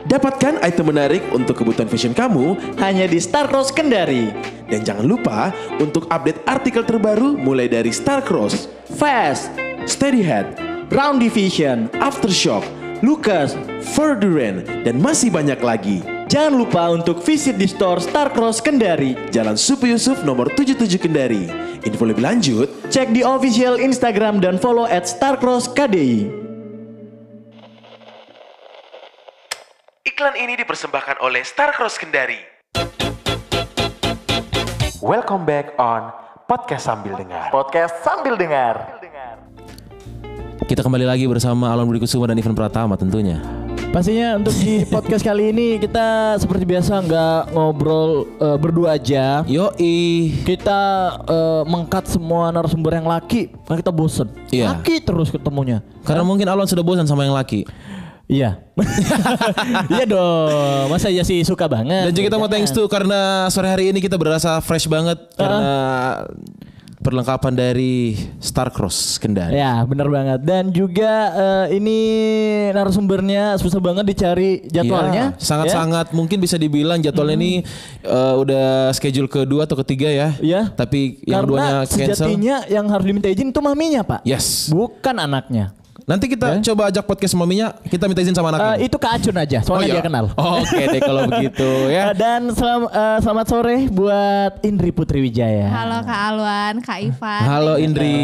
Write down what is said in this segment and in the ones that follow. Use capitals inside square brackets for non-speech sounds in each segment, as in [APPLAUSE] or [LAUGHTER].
Dapatkan item menarik untuk kebutuhan fashion kamu Hanya di Star Cross Kendari. dan jangan lupa untuk update artikel terbaru mulai dari Starcross, Fast, Steadyhead, Round Division, Aftershock, Lucas. Furduran, dan masih banyak lagi. Jangan lupa untuk visit di store Star Cross Kendari. Jalan Supi Yusuf nomor 77 Kendari. Info lebih lanjut, Cek di official Instagram dan follow at Starcross KDI. iklan ini dipersembahkan oleh Starcross Kendari. Welcome back on Podcast Sambil Dengar. Podcast sambil dengar. Kita kembali lagi bersama Alon Budi Kusuma dan Ivan Pratama tentunya. Pastinya untuk di podcast kali ini kita seperti biasa nggak ngobrol eh, berdua aja. Yoi. Kita eh, mengkat semua narasumber yang laki karena kita bosen. Iya. Laki terus ketemunya. Karena mungkin Alon sudah bosan sama yang laki. Iya. [LAUGHS] iya dong. Masa ya sih suka banget. Dan juga kita mau Jangan. thanks to karena sore hari ini kita berasa fresh banget Ah. karena perlengkapan dari Starcross Kendari. Ya benar banget Dan juga eh, ini narasumbernya susah banget dicari Eh, jadwalnya Ya. Hmm. Iya, sangat-sangat mungkin bisa dibilang jadwalnya ini eh, udah schedule kedua atau ketiga ya. Iya. Tapi ya. yang Karena duanya cancel. sejatinya yang harus diminta izin itu maminya pak Yes. Bukan anaknya Nanti kita coba ajak podcast maminya, kita minta izin sama Ya. anaknya. Eh, Itu Kak Acun aja Oh, Soalnya iya. dia kenal Oke deh [LAUGHS] kalau begitu Eh, ya. Dan selam- eh, selamat sore buat Indri Putri Wijaya Halo Kak Alwan, Kak Ivan. Halo Indri.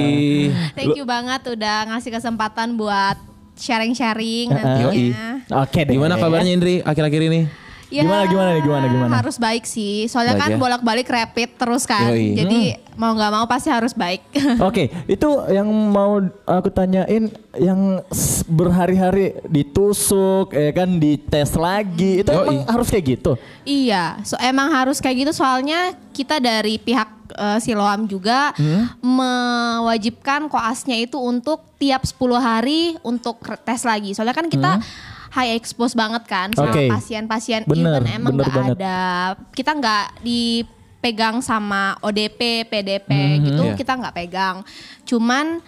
Thank you banget udah ngasih kesempatan buat sharing-sharing Eh, Yoi. nantinya. Eh, Oke deh Gimana kabarnya Indri akhir-akhir ini? Gimana, gimana nih, gimana, gimana? Ya, Harus baik sih, soalnya Baik kan ya. bolak-balik rapid terus kan. Yoi. Hmm. Jadi mau nggak mau pasti harus baik. [LAUGHS] Oke, itu yang mau aku tanyain yang s- berhari-hari ditusuk, ya kan dites lagi, itu Yoi. emang harus kayak gitu. iya, so emang harus kayak gitu soalnya kita dari pihak eh, Siloam juga mewajibkan koasnya itu untuk tiap 10 hari untuk re- tes lagi. Soalnya kan kita high expose banget kan sama Oke. pasien-pasien Bener, even emang bener nggak banget. ada kita nggak dipegang sama ODP, PDP gitu Iya. kita nggak pegang. Cuman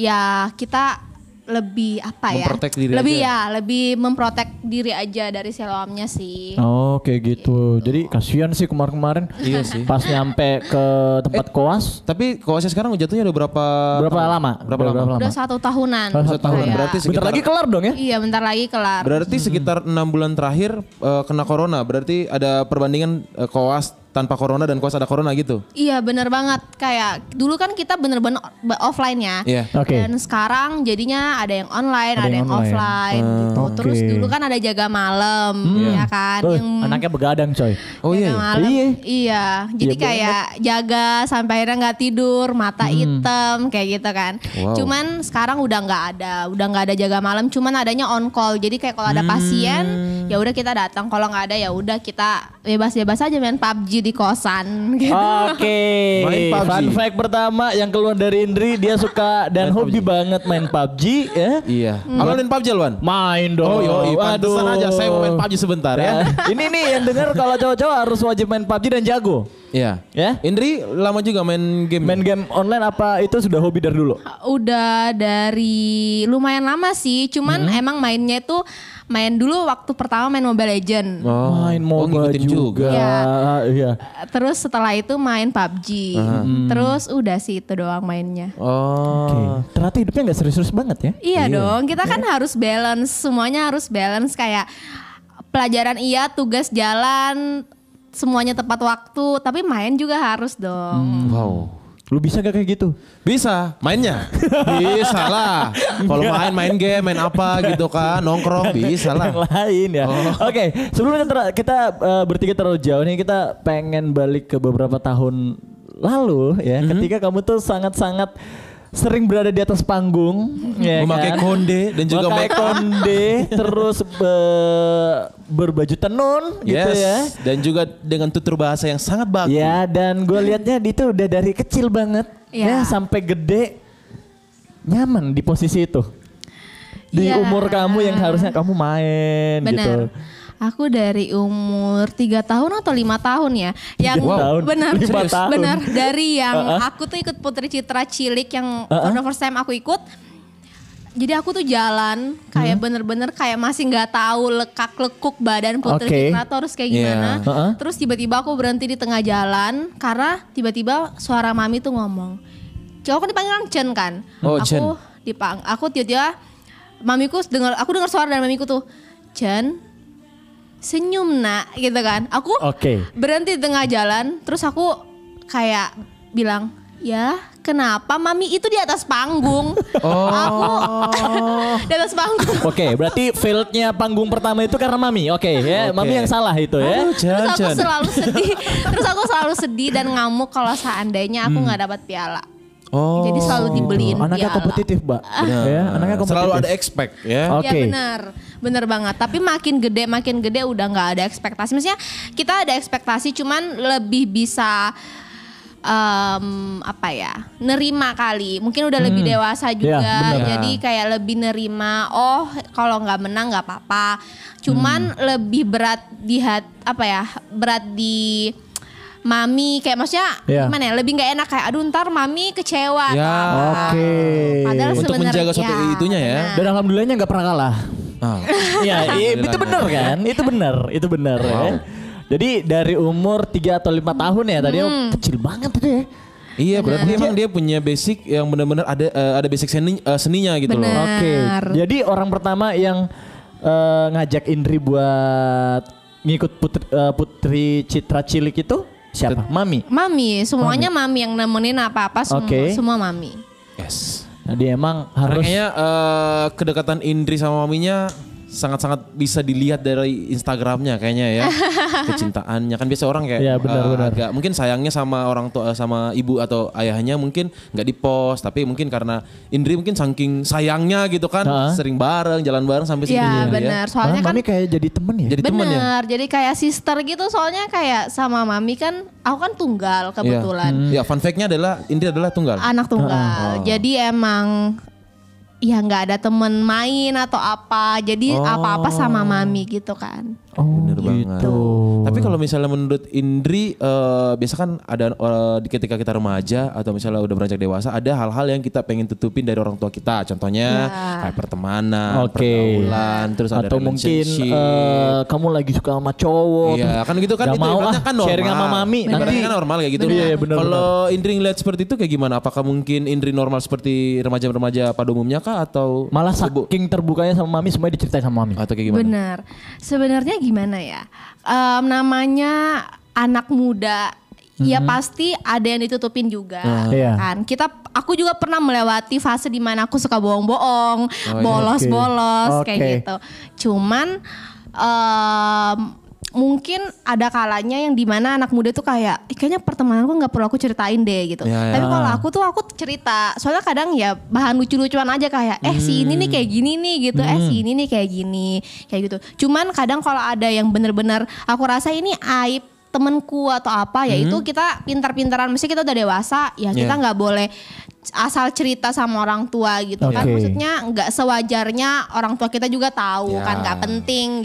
ya kita lebih apa ya? Memprotek diri lebih aja. ya, lebih memprotek diri aja dari siloamnya sih. Oh, kayak gitu. Jadi kasihan sih kemarin-kemarin. Iya sih. Pas nyampe ke tempat Eh, koas, Tapi koasnya sekarang jatuhnya udah berapa berapa lama? Berapa lama? Udah satu tahunan. Udah satu tahunan. Kayak- Berarti Bentar sekitar- lagi kelar dong ya? Iya, bentar lagi kelar. Berarti Hmm. sekitar enam bulan terakhir eh, kena corona. Berarti ada perbandingan eh, koas tanpa corona dan koas ada corona gitu. Iya, bener banget. Kayak dulu kan kita bener-bener o- offline ya. Iya. Oke. Dan sekarang jadinya ada yang online, ada, yang, online. offline gitu. oke. Terus dulu kan ada jaga malam, ya kan? Tuh, yang Anaknya begadang [LAUGHS] coy. Oh jaga iya. iya. malam. Iya. Iya. Jadi kayak jaga sampai akhirnya nggak tidur, mata hitam kayak gitu kan. Hmm. Wow. Cuman sekarang udah nggak ada, udah nggak ada jaga malam, cuman adanya on call. Jadi kayak kalau ada pasien, Hmm. ya udah kita datang. Kalau nggak ada ya udah kita bebas-bebas aja main PUBG di kosan [LAUGHS] gitu. Ah. Oke, Main PUBG. fun fact pertama yang keluar dari Indri dia suka dan hobi banget main PUBG ya. Iya. Alon main PUBG Alwan? Main dong. Oh Waduh. Iya. yoi, Nah, pantesan aja saya mau main PUBG sebentar ya. ini nih yang dengar kalau cowok-cowok harus wajib main PUBG dan jago. Iya. Ya. Indri lama juga main game. ya? Main game online apa itu sudah hobi dari dulu? Udah dari lumayan lama sih, cuman Hmm. emang mainnya itu main dulu waktu pertama main Mobile Legend. Oh, main MOBA oh, ngikutin juga. juga. Iya. Iya. Terus setelah itu main PUBG. Ah. Terus udah sih itu doang mainnya. Oh. Oke. Ternyata hidupnya nggak serius-serius banget ya. Iya dong, kita kan harus balance, semuanya harus balance kayak pelajaran iya, tugas jalan, semuanya tepat waktu, tapi main juga harus dong. Wow. Lu bisa gak kayak gitu? Bisa [LAUGHS] mainnya. Bisa lah. Kalau main main game, main apa gitu kan, nongkrong bisa Yang lah. lain ya. Oh. Oke, sebelum kita, ter- kita eh, bertiga terlalu jauh nih, kita pengen balik ke beberapa tahun lalu Mhm. ya, ketika kamu tuh sangat-sangat sering berada di atas panggung, Mhm. ya Memakai kan? konde dan juga Memakai make up. konde, terus be- berbaju tenun gitu Yes. ya. Dan juga dengan tutur bahasa yang sangat bagus. Iya. Ya dan gue liatnya dia tuh udah dari kecil banget ya, Ya. sampai gede nyaman di posisi itu di Iya. umur kamu yang harusnya kamu main gitu. Benar. Aku dari umur 3 tahun atau lima tahun ya. Yang Wow. tahun, benar lima serius, tahun. benar [LAUGHS] dari yang aku tuh ikut Putri Citra Cilik yang for the first time aku ikut jadi aku tuh jalan kayak Hmm. bener-bener kayak masih nggak tahu lekak lekuk badan Putri Oke. Citra tuh harus kayak gimana. Iya. Heeh. Terus tiba-tiba aku berhenti di tengah jalan karena tiba-tiba suara mami tuh ngomong. Cowok kan dipanggil orang Chen kan. Hmm. Oh, aku Chen. dipang aku tiba-tiba mamiku dengar aku dengar suara dari mamiku tuh Chen senyum nak gitu kan. Aku Oke. berhenti di tengah jalan terus aku kayak bilang ya kenapa mami itu di [LAUGHS] atas panggung Oh. aku [LAUGHS] di atas panggung Oke, berarti fieldnya panggung pertama itu karena mami. Oke, ya Oke. mami yang salah itu ya. terus Jangan, aku jangan. selalu sedih terus aku selalu sedih dan ngamuk kalau seandainya aku nggak dapat piala Oh. jadi selalu dibeliin Hmm. Ah. Anaknya piala kompetitif, Mbak. Ya, anaknya kompetitif. Oh. Selalu ada expect ya. Oke. Ya benar, benar banget. Tapi makin gede, makin gede udah nggak ada ekspektasi. Maksudnya kita ada ekspektasi, cuman lebih bisa em, apa ya, nerima kali. Mungkin udah lebih dewasa juga. Ya, benar. jadi kayak lebih nerima. Oh, kalau nggak menang nggak apa-apa. Hmm. Cuman lebih berat di hat apa ya, berat di mami kayak maksudnya Ya. gimana ya lebih nggak enak kayak aduh ntar mami kecewa Ya. apa. Oke. padahal Untuk sebenarnya- Iya, menjaga suatu itunya ya. benar. Dan alhamdulillahnya nggak pernah [LAUGHS] kalah. Ah. Iya, iya, itu benar kan? Itu benar, itu benar ya. Jadi dari umur 3 atau 5 tahun ya tadi Hmm. kecil banget tuh ya. Iya, berarti emang dia punya basic yang benar-benar ada eh, ada basic seni eh, seninya gitu Benar. loh. Oke. Jadi orang pertama yang eh, ngajak Indri buat ngikut putri, eh, putri Citra Cilik itu siapa? Mami. Mami, semuanya mami, yang nemenin apa-apa semua, Oke. semua mami. Yes. Nah, dia emang harus Kayaknya eh, kedekatan Indri sama maminya sangat-sangat bisa dilihat dari Instagramnya kayaknya [LAUGHS] ya kecintaannya kan biasa orang kayak Iya, benar, eh, benar. agak mungkin sayangnya sama orang tua eh, sama ibu atau ayahnya mungkin nggak dipost tapi mungkin karena Indri mungkin saking sayangnya gitu kan Ha. sering bareng jalan bareng sampai Iya segitunya benar, Malah gitu soalnya kan ya? Mami kayak jadi temen ya. jadi teman ya benar. Jadi kayak sister gitu, soalnya kayak sama mami kan, aku kan tunggal Iya. Hmm. kebetulan, Ah, ya fun fact-nya adalah Indri adalah tunggal anak Ah, tunggal. Jadi emang ya nggak ada temen main atau apa, jadi Oh. apa-apa sama mami gitu kan. Bener banget. Tapi kalau misalnya menurut Indri, eh, biasa kan ada eh, di ketika kita remaja atau misalnya udah beranjak dewasa, ada hal-hal yang kita pengen tutupin dari orang tua kita. Contohnya kayak pertemanan, Oke. pergaulan, terus ada atau mungkin relationship. eh, kamu lagi suka sama cowok. Iya, terus kan gitu kan nggak itu mau ibaratnya ah, kan normal. sharing sama mami Ibaratnya nanti. kan normal kayak gitu. Iya, iya, benar, Kalau Indri ngeliat seperti itu kayak gimana? Apakah mungkin Indri normal seperti remaja-remaja pada umumnya kah atau Malah saking terbukanya sama mami semuanya diceritain sama mami. atau kayak gimana? Benar. Sebenarnya gimana ya? Em, namanya anak muda Ya Mm-hmm. pasti ada yang ditutupin juga Ah. Iya. kan. Kita aku juga pernah melewati fase di mana aku suka Oh, bohong-bohong, iya. bolos-bolos kayak Oke. gitu. Cuman em, mungkin ada kalanya yang dimana anak muda tuh kayak "Ih, kayaknya pertemananku nggak perlu aku ceritain deh gitu. Ya, ya. Tapi kalau aku tuh aku cerita. Soalnya kadang ya bahan lucu-lucuan aja kayak eh si ini nih kayak gini nih gitu, eh si ini nih kayak gini, kayak gitu. Cuman kadang kalau ada yang bener-bener aku rasa ini aib temenku atau apa ya itu kita pintar-pintaran mesti kita udah dewasa ya kita Yeah. nggak boleh asal cerita sama orang tua gitu kan Oke. maksudnya nggak sewajarnya orang tua kita juga tahu Ya. kan nggak penting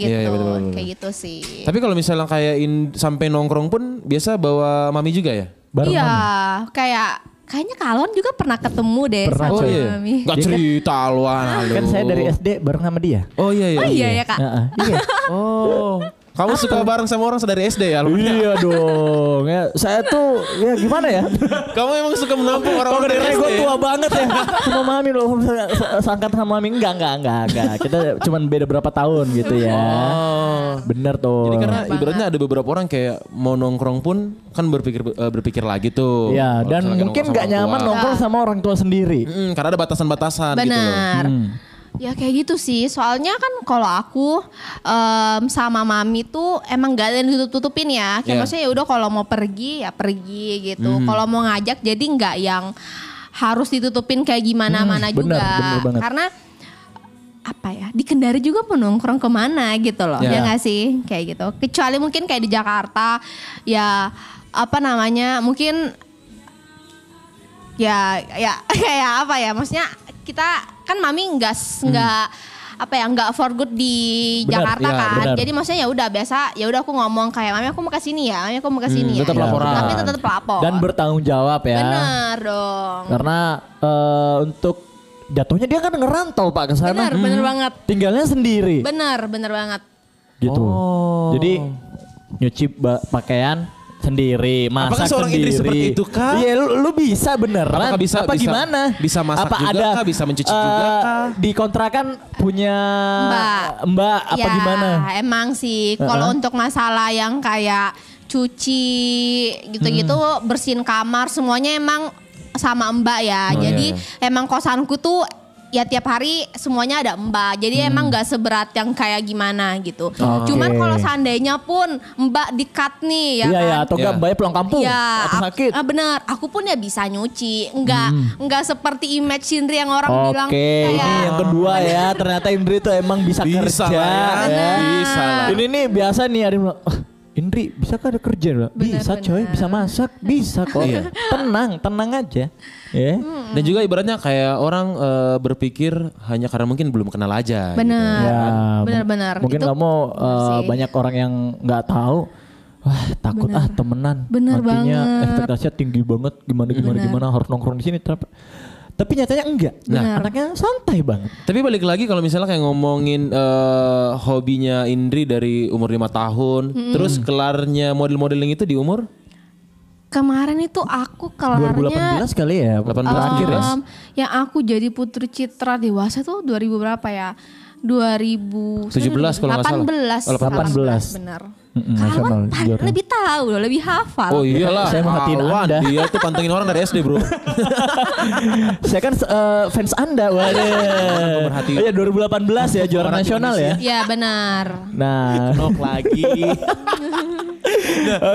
Iya, gitu iya, betul, betul, kayak gitu sih Tapi kalau misalnya kayak in- sampai nongkrong pun biasa bawa mami juga ya? Bareng iya mami. kayak kayaknya kalon juga pernah ketemu deh Pernah, sama coy. Mami. iya. Nggak Dia kan- cerita aluan lu. Kan saya dari SD bareng sama dia. Oh iya iya. Oh iya ya kak. Heeh. [LAUGHS] iya. Ah. Oh. Kamu suka bareng sama orang dari SD ya? Lu? Iya dong. Ya, saya tuh ya gimana ya? [LAUGHS] Kamu emang suka menampung Kalau orang dari kedengerannya SD. Oh, gue tua banget [LAUGHS] ya sama mami loh. Sangkat sama mami enggak enggak enggak enggak. Kita cuman beda berapa tahun gitu ya. Bener tuh. Jadi karena ibaratnya ada beberapa orang kayak mau nongkrong pun kan berpikir eh, berpikir lagi tuh. ya Kalau dan Oh, misalnya mungkin nongkrong nggak sama orang nyaman tua. nongkrong sama orang tua sendiri. Mm, karena ada batasan-batasan gitu loh. Benar. Ya kayak gitu sih. Soalnya kan kalau aku em, sama mami tuh emang gak ada yang ditutup-tutupin ya. Kayak Iya. Hmm. maksudnya ya udah kalau mau pergi ya pergi gitu. Kalau mau ngajak jadi nggak yang harus ditutupin kayak gimana mana Hmm. benar, juga. benar banget. Karena apa ya di Kendari juga penongkrong kemana gitu loh Ya. ya nggak sih kayak gitu kecuali mungkin kayak di Jakarta ya apa namanya mungkin ya ya [LAUGHS] kayak apa ya maksudnya kita kan mami nggak s- nggak apa ya nggak for good di Benar, Jakarta iya, kan benar. jadi maksudnya ya udah biasa ya udah aku ngomong kayak mami aku mau ke sini ya mami aku mau ke sini ya Iya, tetap gitu. laporan. tapi tetap lapor ya. Dan bertanggung jawab ya. bener dong Karena eh, untuk jatuhnya dia kan ngerantau pak ke sana. Hmm. Benar, benar banget. Tinggalnya sendiri Bener, bener banget. gitu. Oh. Jadi nyuci ba- pakaian sendiri, masak Apakah seorang sendiri. Indri seperti itu, Kak? Iya, lu, lu bisa beneran. Apakah bisa- Apa bisa- gimana? bisa masak apa juga, ada, Kak? Bisa mencuci juga, eh, Kak? Di kontrakan punya Mbak. Eh, Mbak apa ya, gimana? emang sih kalau untuk masalah yang kayak cuci gitu-gitu Hmm. bersihin kamar semuanya emang sama Mbak ya. Oh, Jadi iya, emang kosanku tuh ya tiap hari semuanya ada Mbak. Jadi Hmm. emang nggak seberat yang kayak gimana gitu. Oh, Cuman kalau seandainya pun Mbak dikat Iya nih ya kan. ya, atau enggak Iya. Mbaknya pulang kampung Ya, atau aku- sakit. Hmm. ah, bener. Aku pun ya bisa nyuci. Enggak, enggak seperti image Sindri yang orang bilang Oke, ini kayak- yang kedua ya. Ternyata Indri tuh emang bisa, kerja. ya. lah ya. Bisa lah. Ini nih biasa nih ada yang bilang, "Ah, Indri bisa kan ada kerja? Dia bilang, Bisa Benar, coy, benar. bisa masak, bisa kok. Iya. tenang, tenang aja. Ya. Dan juga ibaratnya kayak orang eh, berpikir hanya karena mungkin belum kenal aja. gitu. Bener. Ya, Benar-benar. Mungkin Itu kamu benar eh, sih. banyak orang yang nggak tahu. Wah takut ah temenan. Benar Nantinya banget. ekspektasinya tinggi banget. Gimana gimana gimana harus nongkrong di sini. ternyata- Tapi nyatanya enggak. Nah anaknya santai banget. Tapi balik lagi kalau misalnya kayak ngomongin eh, hobinya Indri dari umur 5 tahun, terus kelarnya model-modeling itu di umur Kemarin itu aku kelarnya 2018 kali ya. 18 um, akhir ya. yang aku jadi putri citra dewasa tuh 2000 berapa ya? 2000 17 kalau nggak salah. 18 Oh, 18. benar. Mm-mm, nasional, Kalau Pan juara. lebih tahu loh, lebih hafal. Oh iyalah, Saya merhatiin Awan, Anda. dia tuh pantengin orang dari SD [LAUGHS] bro. Saya kan eh, fans Anda. Wah. pemerhati. Iya 2018 ya juara nasional ya. Ya benar. Nah. Nok lagi. [LAUGHS]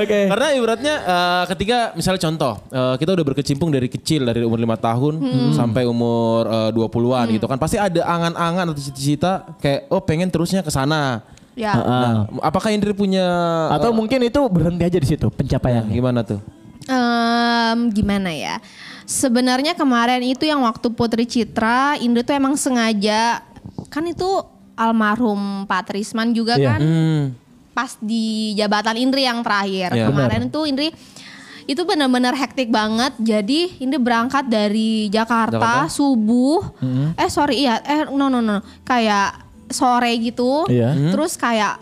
Oke. Karena ibaratnya eh, ketika misalnya contoh eh, kita udah berkecimpung dari kecil dari umur lima tahun sampai umur eh, 20-an gitu kan pasti ada angan-angan atau cita-cita kayak oh pengen terusnya ke sana. Ya. Nah, apakah Indri punya Ah. eh, Atau mungkin itu berhenti aja di situ pencapaian. gimana tuh? Em, gimana ya? Sebenarnya kemarin itu yang waktu Putri Citra, Indra tuh emang sengaja kan itu almarhum Pak Trisman juga Iya. kan pas di jabatan Indri yang terakhir. Iya. Kemarin tuh Indri itu benar-benar hektik banget. Jadi Indri berangkat dari Jakarta, subuh. Eh sorry iya, eh no no no. Kayak sore gitu. Iya. Terus kayak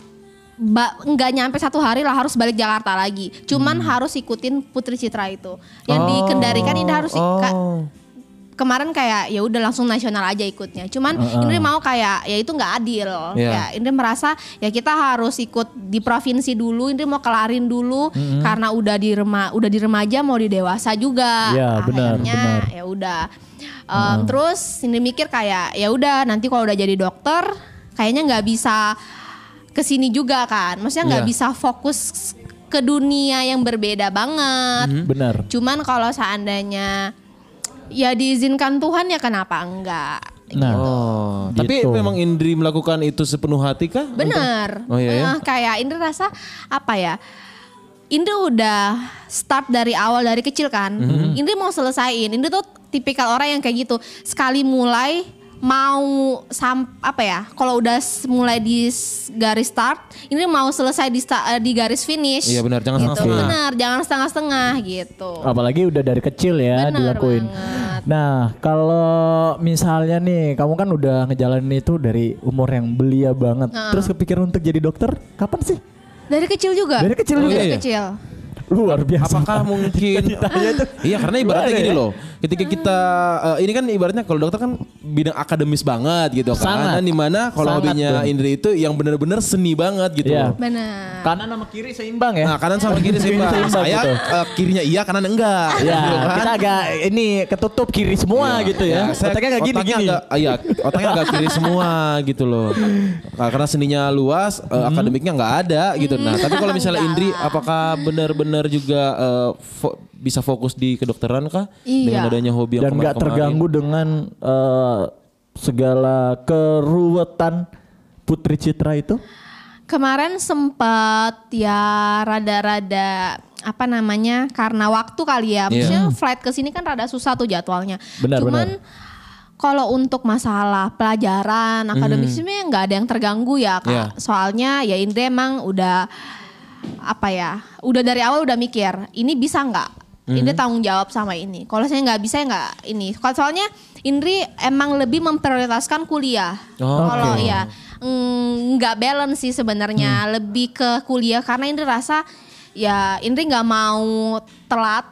ba- nggak nyampe satu hari lah harus balik Jakarta lagi. Cuman harus ikutin Putri Citra itu. Yang dikendarikan Indri harus ika- Oh. kemarin kayak ya udah langsung nasional aja ikutnya. Cuman Indri mau kayak ya itu nggak adil. Iya. Ya Indri merasa ya kita harus ikut di provinsi dulu. Indri mau kelarin dulu Mm-hmm. karena udah di rema udah di remaja mau di dewasa juga. Iya, benar, Akhirnya benar. ya udah. Em, Terus Indri mikir kayak ya udah nanti kalau udah jadi dokter kayaknya nggak bisa kesini juga kan. Maksudnya nggak Iya. bisa fokus ke dunia yang berbeda banget. Hmm. Benar. Cuman kalau seandainya ya diizinkan Tuhan ya kenapa enggak? Nah. Oh, tapi Gitu. memang Indri melakukan itu sepenuh hati kah? Bener. Oh, iya, iya. Eh, kayak Indra rasa apa ya? Indra udah start dari awal dari kecil kan. Mm-hmm. Indra mau selesaiin. Indra tuh tipikal orang yang kayak gitu. Sekali mulai mau sam apa ya? Kalau udah s- mulai di s- garis start, Indra mau selesai di, sta- eh, di garis finish. Iya, benar. Jangan Oh. Gitu. setengah-setengah. Benar, jangan setengah-setengah gitu. Apalagi udah dari kecil ya Benar dilakuin. banget. Nah, kalau misalnya nih kamu kan udah ngejalanin itu dari umur yang belia banget. Terus kepikiran untuk jadi dokter kapan sih? Dari kecil juga. Dari kecil juga Dari ya? kecil. Luar biasa. Apakah mungkin Iya karena ibaratnya Gimana gini ya? loh Ketika kita eh, Ini kan ibaratnya Kalau dokter kan Bidang akademis banget gitu Sangat. kan Dan dimana Kalau Sangat hobinya dong. Indri itu Yang bener-bener seni banget gitu Iya. loh Benar. Kanan sama kiri seimbang ya. Nah kanan sama kiri seimbang Seimbang Saya gitu. eh, kirinya iya kanan enggak Ya, Gitu kan. kita agak ini ketutup kiri semua gitu ya. Iya, saya Otaknya nggak gini otaknya gini. agak- ah, iya, otaknya agak kiri semua gitu loh. Nah, karena seninya luas, eh, Hmm. akademiknya nggak ada gitu. Nah, tapi kalau misalnya Enggak Indri, lah. apakah benar-benar juga eh, fo- bisa fokus di kedokteran kah? Iya. Dengan adanya hobi dan yang nggak kemarin-kemarin? terganggu dengan eh, segala keruwetan Putri Citra itu. Kemarin sempat ya rada-rada apa namanya karena waktu kali ya. Maksudnya flight ke sini kan rada susah tuh jadwalnya. Iya. Benar, Cuman kalau untuk masalah pelajaran Hmm. akademisnya nggak ada yang terganggu ya kak. Iya. Soalnya ya Indra emang udah apa ya udah dari awal udah mikir ini bisa nggak Hmm. Indri tanggung jawab sama ini. Kalau saya nggak bisa ya nggak ini. Kalau Soalnya Indri emang lebih memprioritaskan kuliah. Oh, Kalau oke. Hmm. ya mm, nggak balance sih sebenarnya, lebih ke kuliah karena Indri rasa ya Indri nggak mau telat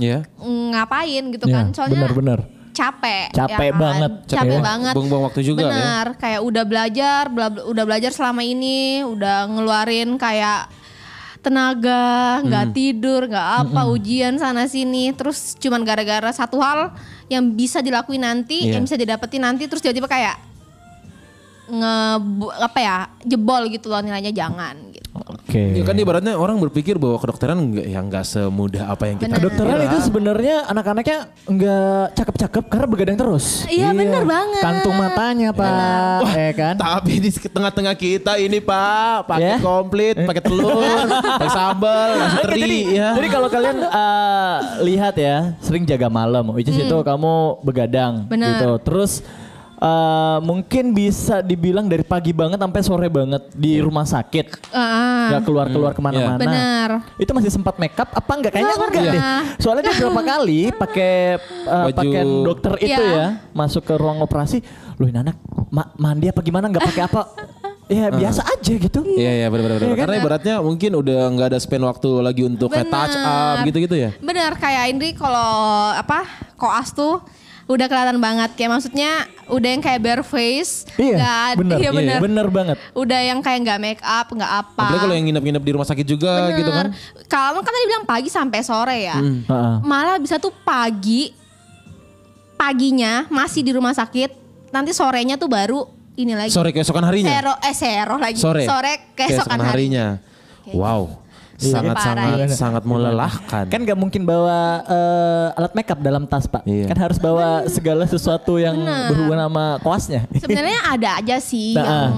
Iya. mm, ngapain gitu Ya, Iya, kan. Soalnya benar-benar. capek. Capek kan? banget. Capek Capek. banget. Buang-buang waktu juga ya. Benar, kayak udah belajar, bla- bla- udah belajar selama ini, udah ngeluarin kayak tenaga, Hmm. nggak tidur, nggak apa, ujian sana sini, terus cuman gara-gara satu hal yang bisa dilakuin nanti, Iya. yang bisa didapetin nanti, terus tiba-tiba kayak nge apa ya jebol gitu loh nilainya jangan gitu. Oke. Ya kan ibaratnya orang berpikir bahwa kedokteran nggak yang nggak semudah apa yang kita Benar. Kedokteran kira. itu sebenarnya anak-anaknya nggak cakep-cakep karena begadang terus. Iya bener banget. Kantung matanya pak, ya kan? Tapi di tengah-tengah kita ini Pak, Ya. pakai komplit, pakai [LAUGHS] telur, pakai sambal, nasi Oke, teri jadi, Iya. ya. jadi kalau kalian eh, lihat ya, sering jaga malam, which is itu kamu begadang Hmm. Benar. gitu. Terus eh, mungkin bisa dibilang dari pagi banget sampai sore banget di rumah sakit, Iya. Ya Ah, nggak keluar-keluar Hmm, iya. kemana-mana. Benar. Itu masih sempat make up apa enggak? Kayaknya Nggak enggak deh. pernah. Soalnya dia berapa [LAUGHS] kali pakai eh, Baju- pakaian dokter itu Iya. ya, masuk ke ruang operasi, loh ini anak ma- mandi apa gimana nggak pakai [LAUGHS] apa? Ya biasa aja gitu. Iya iya benar benar. kan, benar. Karena ibaratnya mungkin udah nggak ada spend waktu lagi untuk kayak touch up Benar. gitu-gitu ya. Bener kayak Indri kalau apa koas tuh udah kelihatan banget kayak maksudnya udah yang kayak bare face, Iya, nggak- bener, iya, bener. bener banget. udah yang kayak nggak make up, nggak apa. Apalagi kalau yang nginep-nginep di rumah sakit juga Bener. gitu kan. Hmm. Kamu kan tadi bilang pagi sampai sore ya. Heeh. Malah bisa tuh pagi paginya masih di rumah sakit, nanti sorenya tuh baru ini lagi. Sore keesokan harinya. Sero, eh sero lagi. Sore. keesokan harinya. harinya. Wow. Sangat-sangat Parah. sangat melelahkan. Kan nggak mungkin bawa eh, alat makeup dalam tas pak. Iya. Kan harus bawa segala sesuatu yang Bener. berhubungan sama koasnya. [LAUGHS] Sebenarnya ada aja sih Nah, yang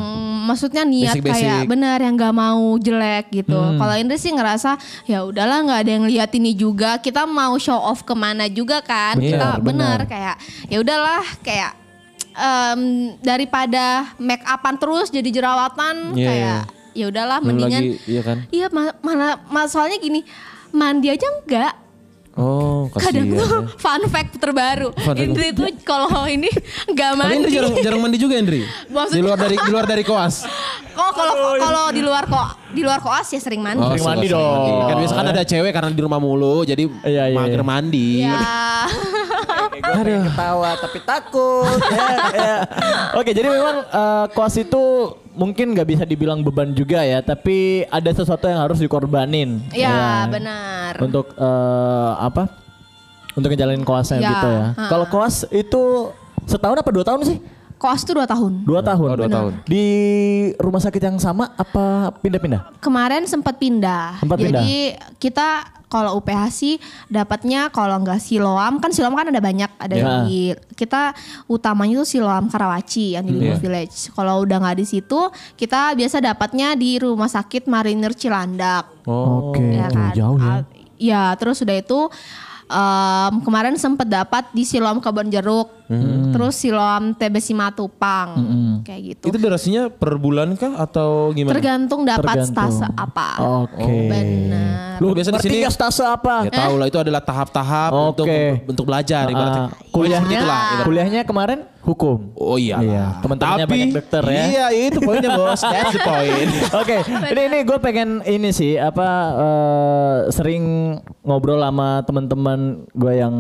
maksudnya niat ah. Basic-basic. Hmm. kayak benar yang nggak mau jelek gitu. Kalau Indri sih ngerasa ya udahlah nggak ada yang lihat ini juga. Kita mau show off kemana juga Benar, kan? Iya, Kita benar benar. kayak ya udahlah kayak em, daripada make upan terus jadi jerawatan Iya, kayak ya udahlah Belum mendingan lagi iya kan. iya ma- malah masalahnya gini mandi aja enggak Oh, kasihan. kadang [LAUGHS] ya. tuh fun fact terbaru Fun fact. Indri tuh kalau ini nggak Tapi Indri mandi jarang, jarang mandi juga Indri. Maksudnya- Di luar dari di luar dari [LAUGHS] koas. Oh kalau kalau di luar kok di luar koas ya sering mandi. sering mandi suka- dong. Oh, Kan biasa kan ada cewek karena di rumah mulu jadi Iya, iya, mager iya. mandi. [LAUGHS] Ya. ketawa tapi [LAUGHS] takut. Iya, Oke, jadi memang eh, koas itu mungkin nggak bisa dibilang beban juga ya, tapi ada sesuatu yang harus dikorbanin. Ya, Ya. benar. Untuk eh, apa? Untuk ngejalanin koasnya Ya, gitu ya. ha. Kalau koas itu setahun apa dua tahun sih? Koas tuh 2 tahun. Dua tahun. dua Benar. tahun. Di rumah sakit yang sama apa pindah-pindah? Kemarin sempat pindah. Sempat Jadi kita kalau UPH sih dapatnya kalau nggak Siloam kan Siloam kan ada banyak ada Ya. di kita utamanya tuh Siloam Karawaci yang di Limbang Iya. Village. Kalau udah nggak di situ kita biasa dapatnya di Rumah Sakit Marinir Cilandak. Oh. ya kan. jauh ya. Al- Iya, terus udah itu em, kemarin sempet dapat di Siloam Kebonjeruk, terus Siloam TBC Matupang, kayak gitu. Itu durasinya per bulan kah atau gimana? Tergantung dapat Tergantung. stase apa. Oke. Benar. Lu biasa di ngerti sini- nggak Oh, stase apa? Ya tahu lah itu adalah tahap-tahap Oke. untuk untuk belajar ibaratnya. Ah, kuliahnya, Begitulah, ibaratnya. kuliahnya kemarin hukum. Oh iya. Iya, teman-temannya banyak dokter ya. Iya, itu poinnya Bos. That's the [LAUGHS] point. Oke, ini ini gue pengen ini sih apa eh, sering ngobrol sama teman-teman gue yang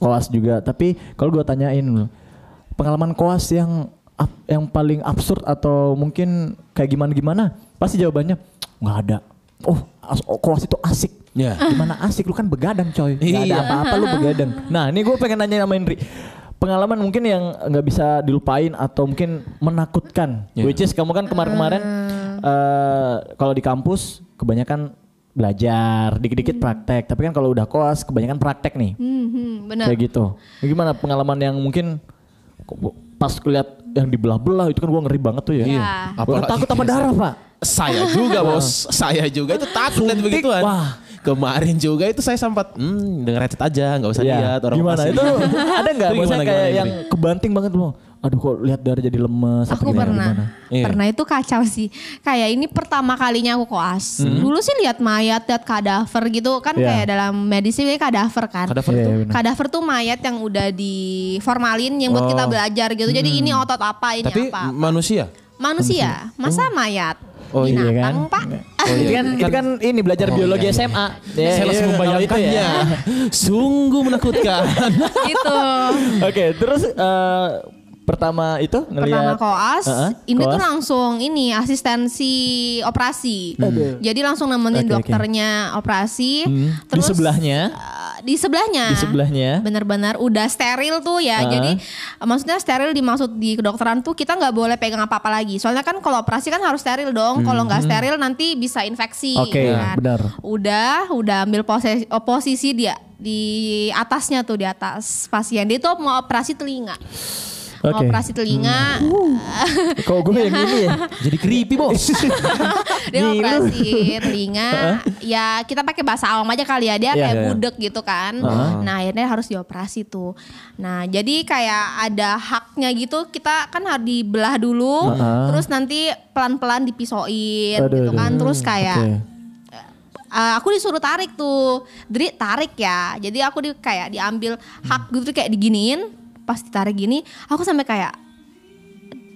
koas juga. Tapi kalau gue tanyain loh, pengalaman koas yang ap- yang paling absurd atau mungkin kayak gimana gimana, pasti jawabannya nggak ada. Oh, as- oh, koas itu asik. Ya. Gimana asik lu kan begadang coy. Gak ada Iya. apa-apa lu begadang. Nah, ini gue pengen nanya sama Indri. Pengalaman mungkin yang nggak bisa dilupain atau mungkin menakutkan. Iya. Which is kamu kan kemarin-kemarin eh, kalau di kampus kebanyakan belajar, dikit-dikit praktek. Tapi kan kalau udah koas kebanyakan praktek nih. Hmm, hmm, benar. Kayak gitu. Gimana pengalaman yang mungkin kok- pas lihat yang dibelah-belah itu kan gua ngeri banget tuh ya. Iya. Gua Apalagi- takut sama darah, Pak. Saya juga bos, saya juga itu takut lihat begituan. Wah. Kemarin juga itu saya sempat, hmm, denger headset aja, nggak usah Iya. lihat orang Gimana [LAUGHS] operasi. itu? Ada nggak Itu maksudnya gimana, kayak gimana, yang kebanting banget loh. aduh kok lihat darah jadi lemes apa Aku gimana, pernah, gimana? Iya. pernah itu kacau sih. Kayak ini pertama kalinya aku koas. Dulu sih lihat mayat, lihat kadaver gitu kan Iya. kayak dalam medis sih kayak kadaver kan. Kadaver Iya, tuh. iya, benar. Kadaver tuh mayat yang udah di formalin yang Oh. buat kita belajar gitu. Jadi ini otot apa, ini Tapi apa. manusia. manusia, masa mayat? Oh, iya Binatang, kan? Pak. [LAUGHS] Oh, iya. Itu kan, itu kan ini belajar Oh, biologi iya, iya. SMA. Ya, Saya iya, langsung kalau itu membayangkannya. ya. Sungguh [LAUGHS] menakutkan. gitu. Oke, terus eh, pertama itu Pertama ngelihat koas, Heeh, ini tuh koas. langsung ini asistensi operasi. Aduh. Jadi langsung nemenin Oke, oke. dokternya operasi. Hmm, di Terus sebelahnya. eh, di sebelahnya. Di sebelahnya. Benar-benar udah steril tuh ya. Heeh. Jadi eh, maksudnya steril dimaksud di kedokteran tuh kita nggak boleh pegang apa-apa lagi. Soalnya kan kalau operasi kan harus steril dong. Kalau nggak steril nanti bisa infeksi. Mhm. Oke, ya kan? benar. Udah, udah ambil posisi, oh, posisi dia di atasnya tuh di atas pasien. Dia tuh mau operasi telinga. Mau Oke. Oh, Hmm. operasi telinga. Kok gue yang ini [LAUGHS] ya? Jadi creepy bos. dia Ngilu. operasi telinga [LAUGHS] ya kita pakai bahasa awam aja kali ya dia Iya, kayak iya, iya. budek gitu kan nah akhirnya harus dioperasi tuh nah jadi kayak ada haknya gitu kita kan harus dibelah dulu terus nanti pelan-pelan dipisoin Aduh, gitu kan aduh. terus kayak Oke. eh, aku disuruh tarik tuh, jadi tarik ya. Jadi aku di, kayak diambil Hmm. hak gitu kayak diginiin, pas ditarik gini, aku sampai kayak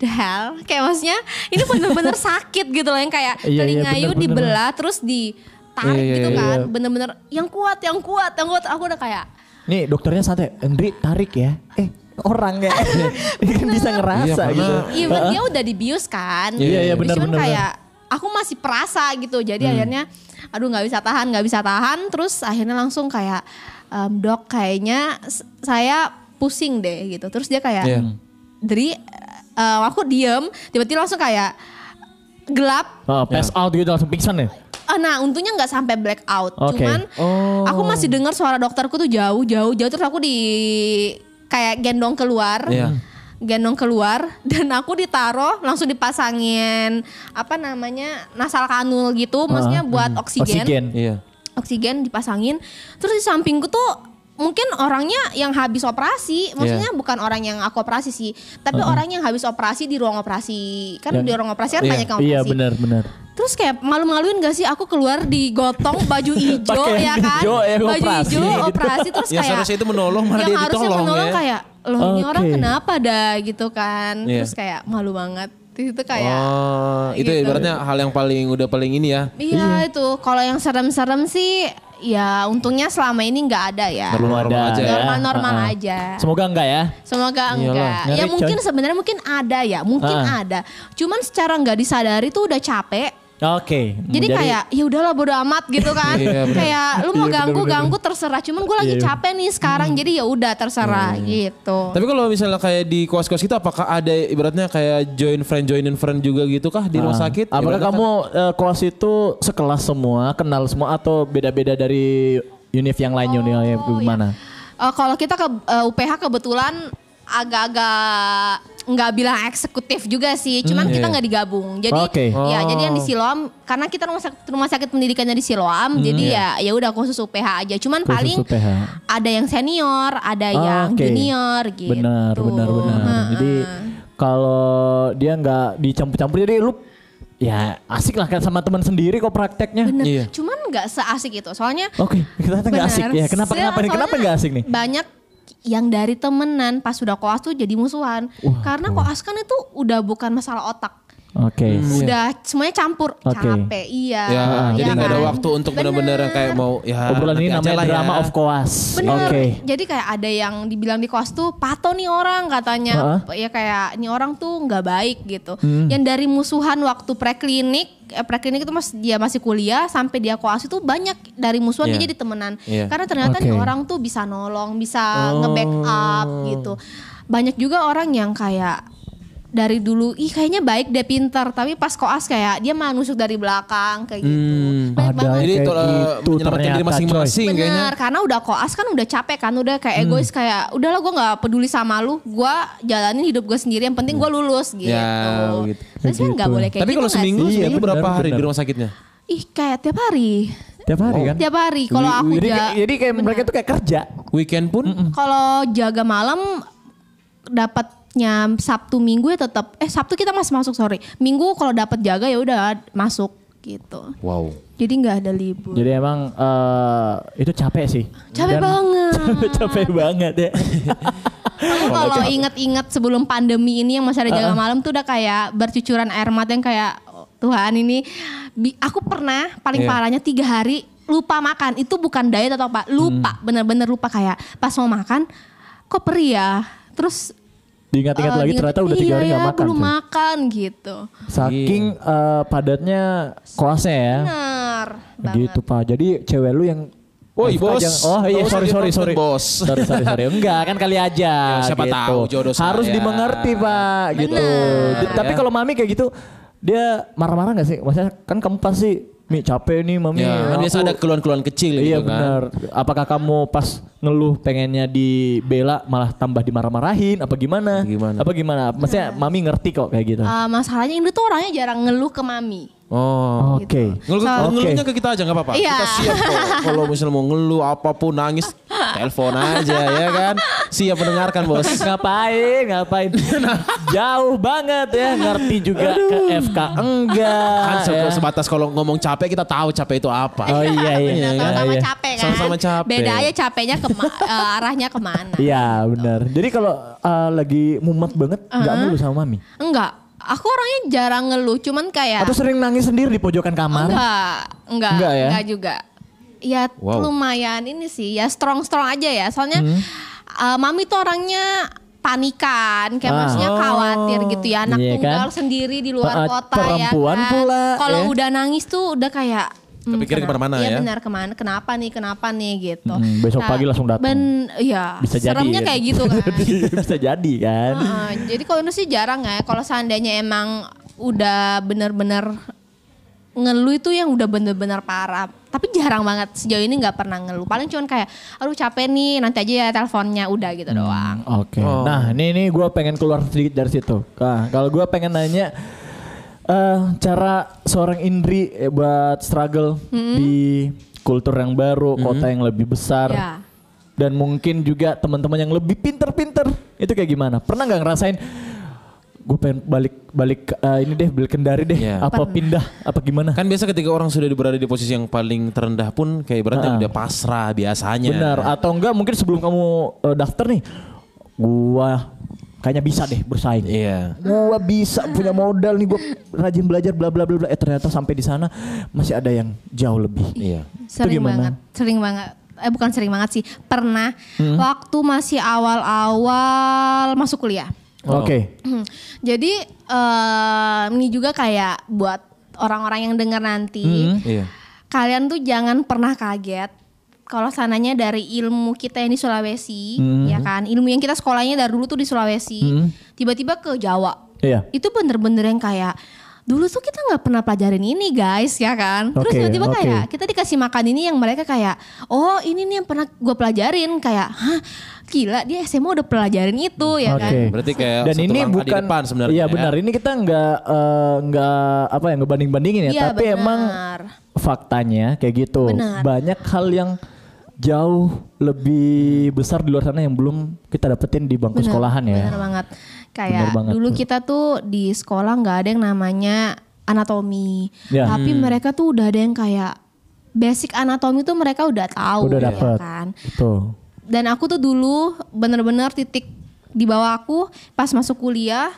"The hell [LAUGHS] kayak maksudnya ini bener-bener sakit gitu loh yang kayak Iya, iya, telinga bener, yu bener. dibelah terus ditarik Iya, iya, gitu iya. kan, bener-bener yang kuat, yang kuat, yang kuat. Aku udah kayak Nih dokternya santai, Andri tarik ya. Eh orang [LAUGHS] ya. Dia kan bisa ngerasa Iya, gitu. karena- Even dia udah dibius kan. Iya, iya, benar, Cuman benar, Hmm. kayak aku masih perasa gitu. Jadi akhirnya aduh nggak bisa tahan, nggak bisa tahan. Terus akhirnya langsung kayak "Em, dok kayaknya s- saya pusing deh gitu. Terus dia kayak Iya. Dri eh, aku diem tiba-tiba langsung kayak gelap. Oh, pass out gitu langsung pingsan ya. Ah, nah untungnya nggak sampai black out. Oke. Cuman aku masih dengar suara dokterku tuh jauh, jauh, jauh. Terus aku di kayak gendong keluar. Iya. Gendong keluar [LAUGHS] dan aku ditaruh langsung dipasangin apa namanya nasal kanul gitu, Ah, maksudnya hmm. buat oksigen. oksigen, Iya. dipasangin. Terus di sampingku tuh mungkin orangnya yang habis operasi, maksudnya bukan orang yang aku operasi sih, tapi orang yang habis operasi di ruang operasi, kan di ruang operasi kan Iya. banyak yang operasi. Iya benar benar. Terus kayak malu-maluin gak sih aku keluar digotong [LAUGHS] baju ijo Pakai ya kan? ijo, ya, baju operasi ijo gitu. operasi terus [LAUGHS] Ya, kayak seharusnya itu menolong, malah yang dia harusnya ditolong, menolong ya. kayak loh ini orang Oke. kenapa dah gitu kan. Iya. Terus kayak malu banget. Itu kayak Oh, itu Ya, gitu. ibaratnya hal yang paling udah paling ini ya. iya, itu. Kalau yang serem-serem sih ya untungnya selama ini nggak ada ya. Normal-normal Ada aja ya. Normal-normal Ah, ah. aja. Semoga enggak ya. Semoga enggak. Ngeri, ya mungkin coy. sebenarnya mungkin ada ya, mungkin Ah. ada. Cuman secara nggak disadari tuh udah capek. Oke. Jadi, kayak ya udahlah bodo [LAUGHS] amat gitu kan. Iya, benar. Iya, kayak lu mau ganggu ganggu terserah. Cuman gue lagi capek nih sekarang Hmm. jadi ya udah terserah gitu. Tapi kalau misalnya kayak di kos-kos kita apakah ada ibaratnya kayak join friend joinin friend juga gitu kah di rumah sakit? Nah, Apakah Ibaratnya kan- kamu eh, kelas itu sekelas semua, kenal semua atau beda-beda dari univ yang lain univ yang Oh, gimana? Eh, kalau kita ke eh, UPH kebetulan agak-agak nggak bilang eksekutif juga sih, cuman kita iya. nggak digabung. Jadi Oke. ya Oh. Hmm, jadi yang di Siloam karena kita rumah sakit rumah sakit pendidikannya di Siloam, jadi iya. ya ya udah khusus UPH aja. Cuman Khusus paling UPH. ada yang senior, ada Oh, Ah, yang oke. junior gitu. Ah, Benar, benar, benar. Iya. Jadi kalau dia nggak dicampur-campur jadi lu ya asik lah kan sama teman sendiri kok prakteknya. Bener. Iya. Cuman nggak seasik itu. Soalnya Oh, Oke, [LAUGHS] kita ternyata nggak asik Benar. ya. Kenapa Saya- kenapa nih? Kenapa soalnya nggak asik nih? Banyak yang dari temenan pas sudah koas tuh jadi musuhan. Karena koas kan itu udah bukan masalah otak. Oke. Hmm. Udah semuanya campur, Hmm, iya. Oke. Ah, capek, iya. Ya, jadi iya nggak ada kan? waktu untuk benar-benar yang kayak mau ya. Obrolan ini nanti aja namanya lah ya. drama of koas. Bener. Oke. Jadi kayak ada yang dibilang di koas tuh pato nih orang katanya. Ya kayak ini orang tuh nggak baik gitu. Hmm. Yang dari musuhan waktu preklinik, eh, preklinik itu mas dia masih kuliah sampai dia koas itu banyak dari musuhan Iya. dia jadi temenan. Iya. Karena ternyata nih Oke. Oh. orang tuh bisa nolong, bisa nge-backup gitu. Banyak juga orang yang kayak dari dulu ih kayaknya baik dia pintar tapi pas koas kayak dia malah nusuk dari belakang kayak gitu. Banyak Hmm. Ada banget. Jadi Kayak itu eh, gitu menyelamatkan diri ternyata, masing-masing kayaknya. Hmm. Benar, karena udah koas kan udah capek kan, udah kayak egois kayak udahlah gue nggak peduli sama lu, gue jalanin hidup gue sendiri, yang penting gue lulus gitu. Hmm. Ya, gitu. Tapi sebenarnya nggak boleh kayak Tapi gitu kalau nggak seminggu, sih? Iya, seminggu benar, berapa hari benar. di rumah sakitnya? ih kayak tiap hari, Tiap Oh. hari kan? tiap hari. Kalau aku jadi, ja- kayak- jadi kayak mereka tuh kayak kerja. Weekend pun kalau jaga malam dapat dapatnya Sabtu Minggu ya tetap eh Sabtu kita masih masuk sorry Minggu kalau dapat jaga ya udah masuk gitu Wow. jadi nggak ada libur Jadi emang eh, itu capek sih. capek banget [LAUGHS] capek capek banget [LAUGHS] ya. Aku kalau inget-inget sebelum pandemi ini yang masih ada jaga malam tuh udah kayak bercucuran air mata yang kayak "Oh, Tuhan ini bi- aku pernah Iya. paling parahnya tiga hari lupa makan itu bukan diet atau apa Hmm. lupa bener-bener lupa kayak pas mau makan kok perih ya terus Diingat-ingat eh, lagi diingat- ternyata udah tiga iya hari nggak ya, makan. belum tuh. makan Iya. gitu Saking eh, padatnya koasnya ya. bener Iya, banget Gitu pak. Jadi cewek lu yang Woi, FK bos. jangan- Oh iya Nggak usah sorry sorry ditonton, sorry. bos. Sorry sorry sorry. Enggak kan kali aja. [LAUGHS] Ya, siapa gitu. tahu jodoh saya. Harus dimengerti pak. Gitu. Di- Tapi Ya. kalau mami kayak gitu dia marah-marah nggak sih? Maksudnya kan kamu pasti Mi capek nih mami. Ya, kan Iya, Aku- biasa ada keluhan-keluhan kecil Iya gitu kan. benar. Apakah kamu pas ngeluh pengennya dibela malah tambah dimarah-marahin apa gimana? Apa gimana? Apa gimana? Maksudnya Nah. mami ngerti kok kayak gitu. Eh, masalahnya Indri tuh orangnya jarang ngeluh ke mami Oh. gitu. Oke. Ngelu- Soal- Ngeluhnya ke kita aja nggak apa-apa. Iya. Kita siap kok. Kalau misalnya mau ngeluh apapun nangis, telepon aja ya kan. Siap mendengarkan bos. Ngapain? Ngapain? Jauh banget ya ngerti juga ke FK enggak. Kan se- ya. sebatas kalau ngomong capek kita tahu capek itu apa. Oh iya iya. Bener, iya, sama-sama iya. capek kan Sama-sama capek. beda aja capeknya ke arahnya kemana Iya benar. Jadi kalau eh, lagi mumet banget nggak Uh-huh. mulu sama mami. Enggak, aku orangnya jarang ngeluh, cuman kayak Atau sering nangis sendiri di pojokan kamar. Ah. enggak, Enggak enggak, enggak, ya? juga. Ya Wow. lumayan ini sih, ya strong-strong aja ya. Soalnya Hmm. eh, mami tuh orangnya panikan, kayak Ah. maksudnya khawatir gitu ya anak Iya kan? tunggal sendiri di luar Ah, kota perempuan ya kan. pula, Kalau ya. udah nangis tuh udah kayak hmm, Kepikiran kenapa- kemana-mana iya, ya. benar kemana? Kenapa nih? Kenapa nih gitu? Mm, besok pagi langsung datang. Ben, ya. Bisa jadi. seremnya ya. kayak gitu kan. [LAUGHS] [LAUGHS] Uh-huh. Bisa jadi kan. Heeh, jadi kalau Indonesia sih jarang ya. Kalau seandainya emang udah bener-bener ngeluh itu yang udah bener-bener parah. Tapi jarang banget sejauh ini nggak pernah ngeluh. Paling cuman kayak, aduh capek nih nanti aja ya teleponnya udah gitu Hmm. doang. Oke. Nah, ini ini gue pengen keluar sedikit dari situ. Nah, kalau gue pengen nanya eh cara seorang Indri eh, buat struggle Hmm. di kultur yang baru, kota yang lebih besar, Ya. dan mungkin juga teman-teman yang lebih pinter-pinter itu kayak gimana? Pernah nggak ngerasain? Gue pengen balik balik eh, ini deh, balik kendari deh, Iya. apa pindah, apa gimana? Kan biasa ketika orang sudah berada di posisi yang paling terendah pun kayak berarti udah pasrah Ah. biasanya. Benar ah. atau enggak mungkin sebelum kamu eh, daftar nih gua kayaknya bisa deh bersaing. Iya. Gua bisa punya modal nih gua rajin belajar bla bla bla bla eh ternyata sampai di sana masih ada yang jauh lebih. Iya. Sering gimana? banget, sering banget. Eh bukan sering banget sih, pernah Hmm. waktu masih awal-awal masuk kuliah. Oke. Hmm, Jadi eh, ini juga kayak buat orang-orang yang dengar nanti. Hmm. Iya. kalian tuh jangan pernah kaget kalau sananya dari ilmu kita yang di Sulawesi, Hmm. ya kan, ilmu yang kita sekolahnya dari dulu tuh di Sulawesi, tiba-tiba ke Jawa, Iya. itu bener-bener yang kayak dulu tuh kita nggak pernah pelajarin ini guys, ya kan. Terus Oke, tiba-tiba oke. kayak kita dikasih makan ini yang mereka kayak, oh ini nih yang pernah gue pelajarin, kayak, hah, gila dia SMA udah pelajarin itu, ya kan. Oke. Berarti kayak Iya Dan satu ini langkah di bukan depan sebenarnya. Iya ya. benar. Ini kita nggak eh, nggak apa ya ngebanding bandingin ya. Iya, tapi benar. emang faktanya kayak gitu. Benar. Banyak hal yang jauh lebih besar di luar sana yang belum kita dapetin di bangku Bener, sekolahan ya. Bener banget. Kayak Bener banget. dulu kita tuh di sekolah nggak ada yang namanya anatomi, Ya. tapi mereka tuh udah ada yang kayak basic anatomi tuh mereka udah tahu, Udah ya dapet. kan. Betul. Dan aku tuh dulu bener-bener titik di bawah aku pas masuk kuliah.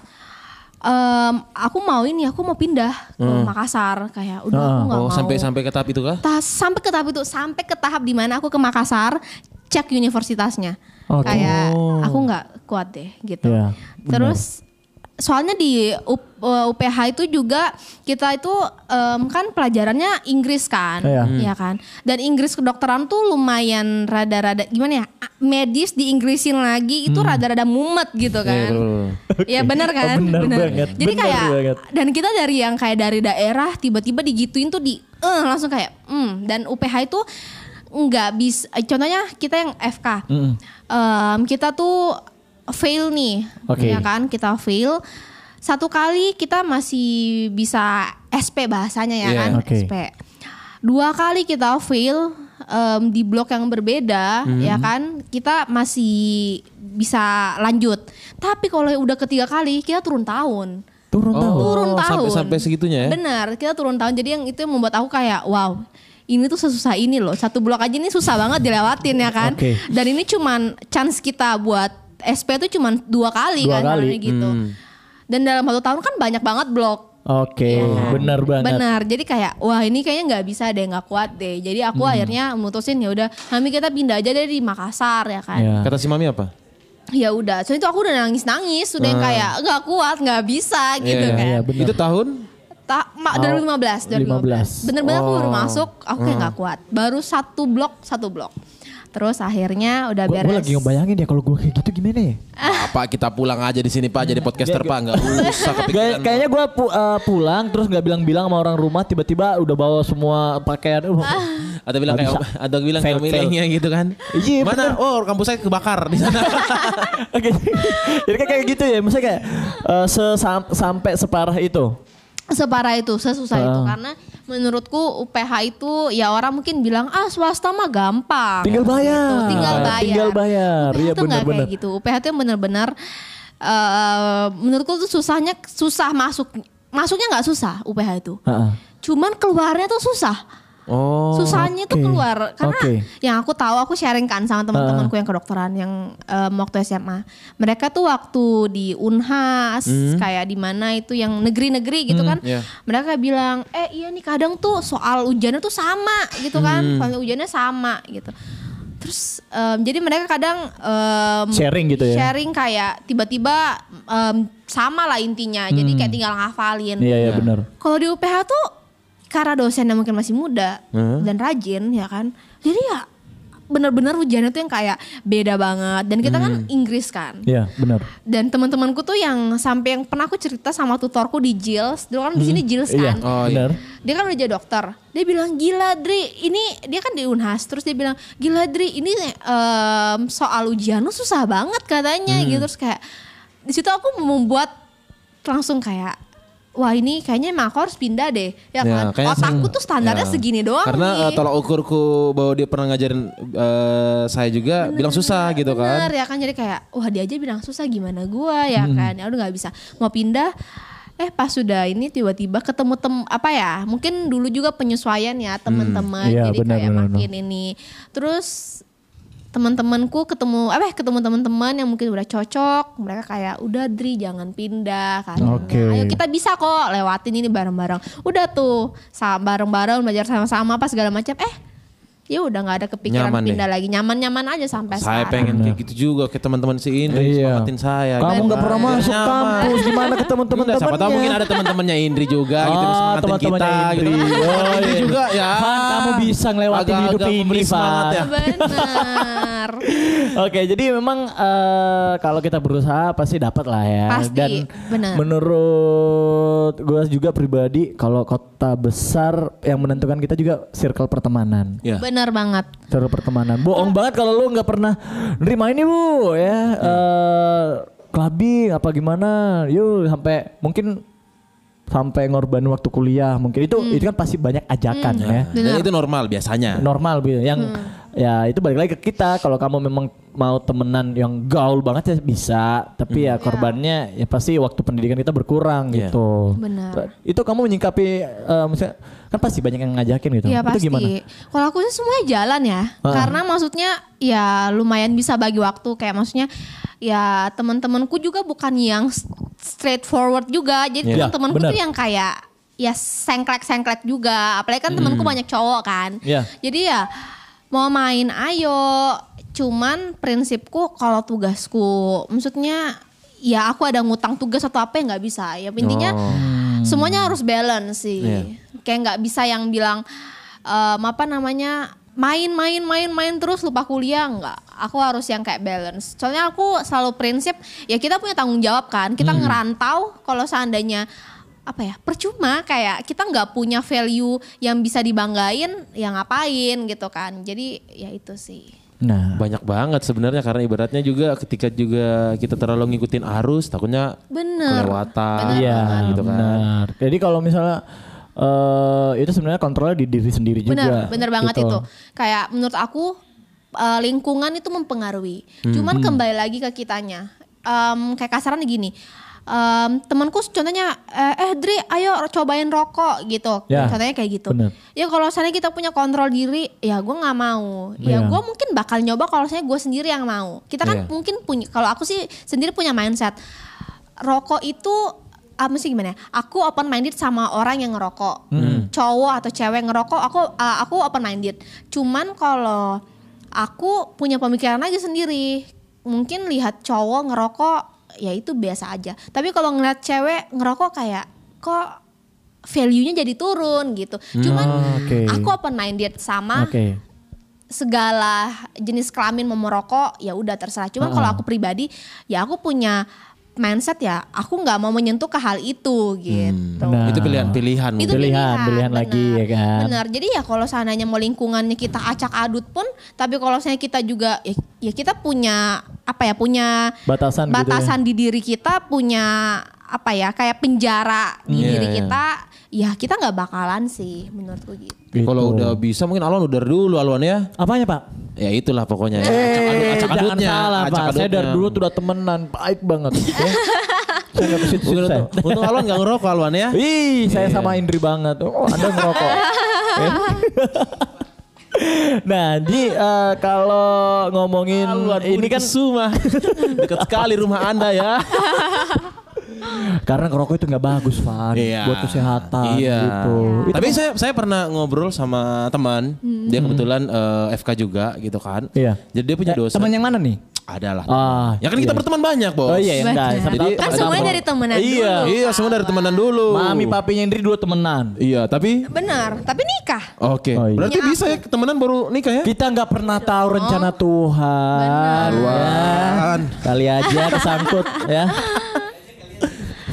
em, aku mau ini, aku mau pindah ke Hmm. Makassar kayak udah Ah. aku nggak Oh, mau sampai sampai ke tahap itu kah? Ta- sampai ke tahap itu sampai ke tahap di mana aku ke Makassar cek universitasnya Oke. kayak aku nggak kuat deh gitu Oh. Iya, benar. terus soalnya di U- uh, UPH itu juga kita itu em, kan pelajarannya Inggris kan Iya. ya kan dan Inggris kedokteran tuh lumayan rada-rada gimana ya a- medis diinggrisin lagi itu Hmm. rada-rada mumet gitu kan ya [LAUGHS] benar Iya, Oh, kan benar Benar. banget, jadi benar kayak banget. dan kita dari yang kayak dari daerah tiba-tiba digituin tuh di eh langsung kayak hmm dan UPH itu nggak bisa eh, contohnya kita yang FK Em, kita tuh fail nih Oke. ya kan kita fail satu kali kita masih bisa SP bahasanya ya Iya. kan Oke. SP dua kali kita fail em, di blok yang berbeda Mm-hmm. ya kan kita masih bisa lanjut. Tapi kalau udah ketiga kali kita turun tahun. Turun Oh, tahun. Turun tahun. sampai- sampai segitunya ya? Benar, kita turun tahun. Jadi yang itu yang membuat aku kayak wow. Ini tuh sesusah ini loh. Satu blok aja ini susah banget dilewatin ya kan. Oke. Dan ini cuman chance kita buat SP tuh cuman dua kali Dua kan kali. namanya gitu. Hmm. Dan dalam satu tahun kan banyak banget blok. Oke, benar banget. Iya kan? Benar. Jadi kayak wah ini kayaknya nggak bisa deh, nggak kuat deh. Jadi aku Hmm. akhirnya mutusin ya udah, kami kita pindah aja deh di Makassar ya kan. Ya. Kata si Mami apa? Ya udah. Soalnya itu aku udah nangis-nangis, udah yang kayak nggak kuat, nggak bisa gitu Ah. Iya, kan. iya, benar. Itu tahun Oh, Tak mak dari 15, dari 15. 15. Bener-bener aku Oh. baru masuk, aku kayak Hmm. nggak kuat. Baru satu blok, satu blok. Terus akhirnya udah Gue beres. lagi ngebayangin ya kalau gue kayak gitu gimana ya? apa kita pulang aja di sini Pak jadi podcaster Pak nggak usah kepikiran. Gaya- kayaknya gue pulang terus nggak bilang-bilang sama orang rumah tiba-tiba udah bawa semua pakaian. Uh, [LAUGHS] Atau bilang kayak Nggak bisa. atau bilang Fail, fail. kamilenya gitu kan. Iya, Mana? Oh, kampus saya kebakar di [LAUGHS] sana. Oke, jadi kayak kayak gitu ya, maksudnya kayak eh, sesam- sampai separah itu. separah itu, Oh. sesusah itu karena menurutku UPH itu ya orang mungkin bilang ah swasta mah gampang. Tinggal bayar. Ah, Gitu, tinggal bayar. Tinggal bayar. Iya, UPH tuh nggak benar-benar. kayak gitu. UPH tuh yang benar-benar eh, menurutku tuh susahnya susah masuk masuknya nggak susah UPH itu. Heeh. Cuman keluarnya tuh susah. Oh. susahnya tuh oke. keluar karena Oke. yang aku tahu aku sharing kan sama teman-temanku yang kedokteran yang em, waktu SMA mereka tuh waktu di Unhas Hmm. kayak di mana itu yang negeri-negeri gitu kan iya. mereka bilang eh iya nih kadang tuh soal ujiannya tuh sama gitu kan Hmm. soal ujiannya sama gitu terus em, jadi mereka kadang em, Sharing gitu ya? sharing kayak tiba-tiba em, sama lah intinya jadi kayak tinggal ngafalin Hmm. Iya, iya benar. kalau di UPH tuh karena dosennya mungkin masih muda dan rajin ya kan. Jadi ya benar-benar ujiannya tuh yang kayak beda banget dan kita kan Inggris kan. Iya, benar. Dan teman-temanku tuh yang sampai yang pernah aku cerita sama tutorku di Jils, dulu kan di sini Jils Iya, kan. Oh, iya. benar. Dia kan udah jadi dokter. Dia bilang gila Dri, ini dia kan di Unhas terus dia bilang gila Dri, ini em, soal ujian lu susah banget katanya Hmm. gitu terus kayak di situ aku membuat langsung kayak wah ini kayaknya emang aku harus pindah deh ya, kan. kayaknya Otakku sering- tuh standarnya ya. segini doang Karena nih. eh, tolak ukurku bahwa dia pernah ngajarin eh, saya juga bilang susah gitu kan. Bener Hmm. ya kan jadi kayak wah dia aja bilang susah gimana gua ya kan ya udah nggak bisa mau pindah eh pas sudah ini tiba-tiba ketemu tem apa ya mungkin dulu juga penyesuaian Hmm. ya teman-teman Iya, jadi benar, kayak benar, makin ini terus teman-temanku ketemu apa ya, ketemu teman-teman yang mungkin udah cocok mereka kayak udah Dri jangan pindah katanya Oke. ayo kita bisa kok lewatin ini bareng-bareng udah tuh sa- bareng-bareng belajar sama-sama apa segala macam eh ya udah nggak ada kepikiran Nyaman deh. pindah lagi nyaman-nyaman aja sampai Saya sekarang. pengen kayak gitu juga ke teman-teman si Indri Iya. semangatin saya. gitu. Kamu nggak pernah Biar masuk Ya, nyaman. [LAUGHS] kampus, gimana ke teman-teman Enggak, siapa tahu mungkin ada teman-temannya Indri juga gitu Ah, semangatin teman-temannya kita Indri. gitu. Oh, Indri iya. juga ya. Van, kamu bisa ngelewatin Agak-agak hidup ini, memberi Van. semangat ya. [LAUGHS] Benar. Oke, jadi memang eh, kalau kita berusaha pasti dapat lah ya. Pasti, Dan benar. menurut gue juga pribadi kalau kota besar yang menentukan kita juga circle pertemanan. Ya. Benar banget. Circle pertemanan. Oh. Bohong banget kalau lu nggak pernah nerima ini bu ya. eh, Clubbing apa gimana? Yuk sampai mungkin sampai ngorban waktu kuliah mungkin itu Hmm. itu kan pasti banyak ajakan ya Dan Nah, itu normal biasanya. normal gitu yang Hmm. ya itu balik lagi ke kita kalau kamu memang mau temenan yang gaul banget ya bisa tapi Hmm. ya korbannya ya pasti waktu pendidikan kita berkurang Iya. gitu Benar. itu kamu menyikapi eh, misalnya kan pasti banyak yang ngajakin gitu Iya itu pasti. gimana Kalau aku sih semuanya jalan ya. Karena maksudnya ya lumayan bisa bagi waktu kayak maksudnya ya teman-temanku juga bukan yang s- straightforward juga. Jadi Iya, teman-temanku benar. tuh yang kayak ya sengklek-sengklek juga. Apalagi kan temanku banyak cowok kan. Iya. Jadi ya mau main ayo. Cuman prinsipku kalau tugasku maksudnya ya aku ada ngutang tugas atau apa ya nggak bisa. Ya intinya semuanya harus balance sih. Kayak nggak bisa yang bilang em, apa namanya main main main main terus lupa kuliah nggak. Aku harus yang kayak balance. Soalnya aku selalu prinsip ya kita punya tanggung jawab kan. Kita ngerantau kalau seandainya apa ya percuma kayak kita nggak punya value yang bisa dibanggain ya ngapain gitu kan jadi ya itu sih nah Banyak banget sebenarnya karena ibaratnya juga ketika juga kita terlalu ngikutin arus takutnya bener kelewatan Bener iya gitu kan. benar jadi kalau misalnya eh, itu sebenarnya kontrolnya di diri sendiri Iya juga. Benar, benar banget gitu. itu. Kayak menurut aku eh, lingkungan itu mempengaruhi. Hmm. Cuman kembali lagi ke kitanya. Em, kayak kasaran gini. em, temanku contohnya eh, eh Dri ayo cobain rokok gitu. Ya, Contohnya kayak gitu. benar. Ya kalau misalnya kita punya kontrol diri, ya gue nggak mau. Ya Iya. gue mungkin bakal nyoba kalau misalnya gue sendiri yang mau. Kita kan Iya. mungkin punya kalau aku sih sendiri punya mindset rokok itu ah, mesti gimana? ya? Aku open minded sama orang yang ngerokok. Cowok atau cewek ngerokok, aku ah, aku open minded. Cuman kalau aku punya pemikiran lagi sendiri, mungkin lihat cowok ngerokok ya itu biasa aja. Tapi kalau ngeliat cewek ngerokok kayak kok value-nya jadi turun gitu. Cuman Oke. aku open minded sama Oke. segala jenis kelamin mau merokok ya udah terserah. Cuman kalau aku pribadi ya aku punya mindset ya aku nggak mau menyentuh ke hal itu gitu. Benar. Itu pilihan-pilihan. Hmm. mungkin. Itu Pilihan, pilihan lagi, ya kan? Benar. Jadi ya kalau seandainya mau lingkungannya kita acak adut pun, tapi kalau saya kita juga ya, ya kita punya apa ya punya Batasan gitu ya. batasan di diri kita punya apa ya kayak penjara di Iya, diri iya. kita, ya kita nggak bakalan sih menurutku gitu. Kalau udah bisa mungkin Alon udah dulu Alon ya. apanya Pak? Ya itulah pokoknya. ya. Eh, acak jangan adutnya, salah acak Pak. Saya adutnya. dari dulu tuh udah temenan, baik banget. [LAUGHS] Ya. saya nggak kesit Untung- Untung Alon gak ngerokok Alwan ya. Ih, saya sama Indri banget. Oh, Anda ngerokok. Eh. [LAUGHS] nah, di eh, kalau ngomongin ini kan Suma. Dekat sekali rumah Anda ya. karena ngerokok itu nggak bagus, Fan. Iya. Buat kesehatan Iya. gitu. Itu Tapi saya saya pernah ngobrol sama teman, dia kebetulan eh, FK juga gitu kan. Hmm. Iya. Jadi dia punya Eh, dosen. Teman yang mana nih? Adalah. Ah, ya kan iya. kita berteman banyak, Oh Bos. iya, enggak. Benar. Jadi Kan semuanya dari temenan Iya, dulu. iya semua dari temenan dulu. mami papinya Indri dua temenan. Iya, tapi Benar, tapi nikah. Oke, Oh, iya. berarti Ya, bisa ya temenan baru nikah ya? Kita nggak pernah tahu rencana Tuhan. Benar. Ya. Kali aja kesangkut ya.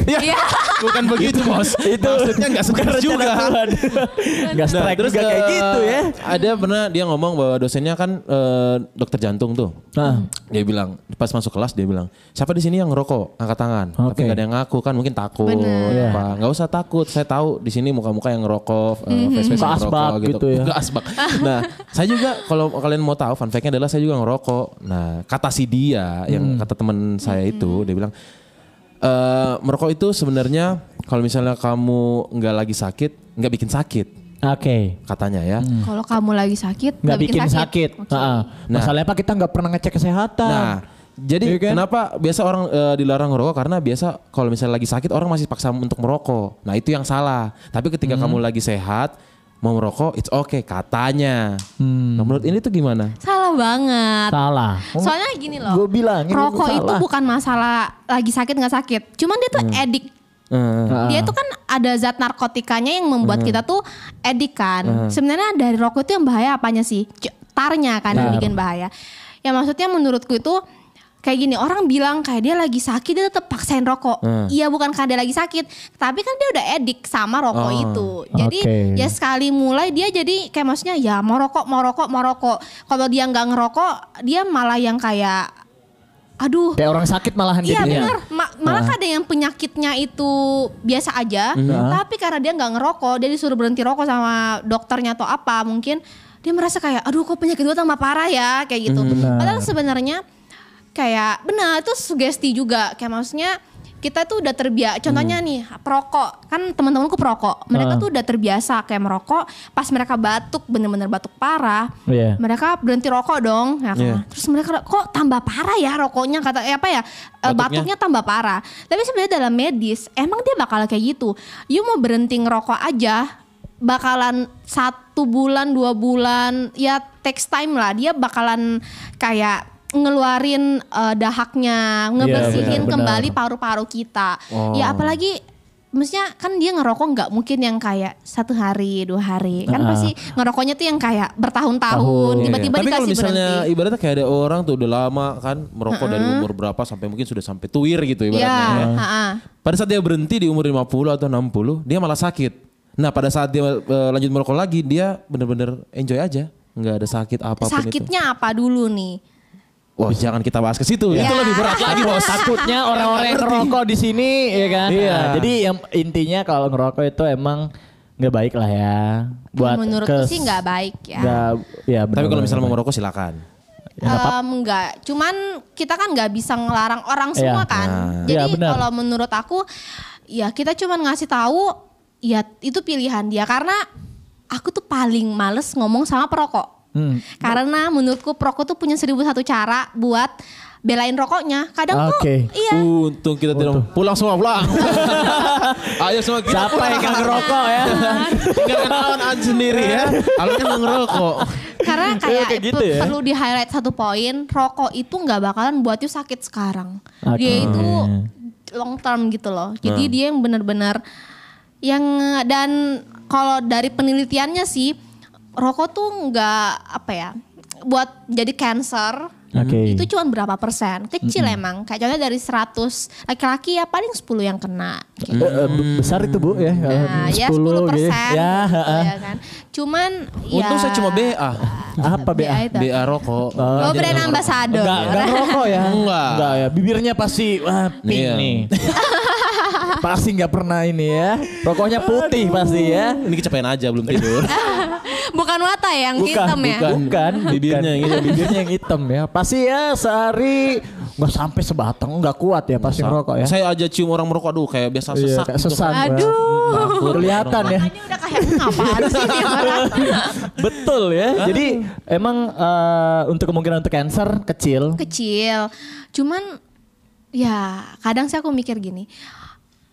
Iya. Bukan begitu [LAUGHS] bos, itu maksudnya nggak stres juga. [LAUGHS] Enggak Nah, strike juga eh, kayak gitu ya. Ada pernah dia ngomong bahwa dosennya kan eh, dokter jantung tuh. Nah, Dia bilang pas masuk kelas dia bilang siapa di sini yang ngerokok angkat tangan tapi Oke. Iya. nggak ada yang ngaku kan mungkin takut Bener. apa nggak usah takut saya tahu di sini muka-muka yang ngerokok face Muka face yang asbak ngerokok gitu, gitu ya. Muka asbak nah saya juga kalau kalian mau tahu fun fact-nya adalah saya juga ngerokok nah kata si dia yang Mhm. kata teman saya itu dia bilang "Eh, merokok itu sebenarnya kalau misalnya kamu nggak lagi sakit nggak bikin sakit oke. katanya ya Kalau kamu lagi sakit, Hmm. nggak bikin sakit. Heeh. Nah. Masalahnya pak kita nggak pernah ngecek kesehatan. Nah, jadi Iya kan? kenapa biasa orang eh, dilarang ngerokok karena biasa kalau misalnya lagi sakit orang masih paksa untuk merokok. Nah, itu yang salah. Tapi ketika kamu lagi sehat mau merokok it's okay katanya. Nah, menurut ini tuh gimana? Salah banget. Salah. Soalnya gini loh. Gua bilangin lu rokok itu salah. Hmm. bukan masalah lagi sakit nggak sakit. Cuman dia tuh edik. Eh, Heeh. Dia tuh kan ada zat narkotikanya yang membuat kita tuh edik kan. Sebenarnya dari rokok itu yang bahaya apanya sih? C- Tarnya kan yang Tar. bikin bahaya. Ya maksudnya menurutku itu kayak gini orang bilang kayak dia lagi sakit dia tetap paksain rokok. Iya bukan karena dia lagi sakit, tapi kan dia udah edik sama rokok Oh. itu. Jadi Oke. ya sekali mulai dia jadi kayak maksudnya ya mau rokok, mau rokok, mau rokok. Kalau dia nggak ngerokok, dia malah yang kayak aduh Kayak orang sakit malahan gitu ya. Ah. Iya jadinya. benar. Ma- malah ada yang penyakitnya itu biasa aja, Hmm. Ah. tapi karena dia nggak ngerokok, dia disuruh berhenti rokok sama dokternya atau apa mungkin dia merasa kayak, aduh kok penyakit gue tambah parah ya kayak Hmm, gitu. Padahal sebenarnya kayak benar itu sugesti juga, kayak maksudnya kita tuh udah terbiasa. Contohnya nih perokok, kan teman-temanku perokok, mereka Hmm. Ah. tuh udah terbiasa kayak merokok. Pas mereka batuk, bener-bener batuk parah, Iya. mereka berhenti rokok dong ya kan? Iya. terus mereka kok tambah parah ya rokoknya kata eh, apa ya eh, Batuknya. batuknya tambah parah tapi sebenarnya dalam medis emang dia bakal kayak gitu you mau berhenti ngerokok aja bakalan satu bulan dua bulan ya takes time lah dia bakalan kayak ngeluarin eh, dahaknya ngebersihin benar, kembali benar. paru-paru kita Iya, Oh. ya apalagi Maksudnya kan dia ngerokok nggak mungkin yang kayak satu hari dua hari kan Ah. pasti ngerokoknya tuh yang kayak bertahun-tahun Tahun, tiba-tiba iya. Tapi kalau dikasih misalnya berhenti ibaratnya kayak ada orang tuh udah lama kan merokok dari umur berapa sampai mungkin sudah sampai tuir gitu ibaratnya. ya ya. ha-ha. Pada saat dia berhenti di umur 50 atau 60, dia malah sakit. Nah, pada saat dia eh, lanjut merokok lagi, dia bener-bener enjoy aja. nggak ada sakit apapun itu. sakitnya apa dulu nih Wah, jangan kita bahas ke situ. Ya. Itu lebih berat lagi, Bos. Takutnya orang-orang yang ngerokok di sini ya kan. Iya. Nah, jadi yang intinya kalau ngerokok itu emang nggak baik lah ya. Buat menurutku kes- sih nggak baik ya. nggak- ya Tapi kalau misalnya benar-benar. mau ngerokok silakan. Ya, nggak apa- Em, enggak, cuman kita kan nggak bisa ngelarang orang Iya. semua kan. Nah. Iya, Jadi benar. kalau menurut aku, ya kita cuman ngasih tahu, ya itu pilihan dia. Karena aku tuh paling males ngomong sama perokok. Hmm. Karena menurutku perokok tuh punya seribu satu cara buat belain rokoknya. Kadang Oke. tuh, iya. Untung kita tidak pulang semua pulang. [LAUGHS] Ayo semua kita Siapa yang nggak ngerokok ya? Tinggalkan Alan Alan sendiri ya. Alan kan nggak ngerokok. Karena kayak, kayak gitu per- ya. perlu di highlight satu poin, rokok itu nggak bakalan buat you sakit sekarang. Oke. Nah. Dia itu long term gitu loh. Jadi dia yang benar-benar yang dan kalau dari penelitiannya sih rokok tuh nggak apa ya buat jadi cancer Oke. itu cuma berapa persen kecil emang kayak contohnya dari 100 laki-laki ya paling 10 yang kena gitu. Eh, eh, be- besar itu bu ya. Hmm. nah ya 10 gitu. persen Ya, heeh. kan cuman Untung ya, saya cuma BA. apa BA? BA itu. BA rokok. Oh, brand ambassador. Enggak, enggak ngerokok ya? Enggak. Enggak ya, bibirnya pasti wah pink Iya. [LAUGHS] nih. pasti enggak pernah ini ya. Rokoknya putih pasti ya. Ini kecapean aja belum tidur. [LAUGHS] Iya. Bukan wata ya, yang hitam ya. bukan, bukan, Bibirnya yang hitam, bibirnya yang hitam ya. Pasti ya sehari nggak sampai sebatang, nggak kuat ya pasti ngerokok ya. Saya aja cium orang merokok aduh kayak biasa Iya, sesak. kayak gitu. sesak. Aduh. Takut Kelihatan ya. Ini udah kayak apaan sih ini [LAUGHS] orang? Betul ya. Jadi emang eh, untuk kemungkinan untuk cancer kecil. Kecil. Cuman ya kadang sih aku mikir gini.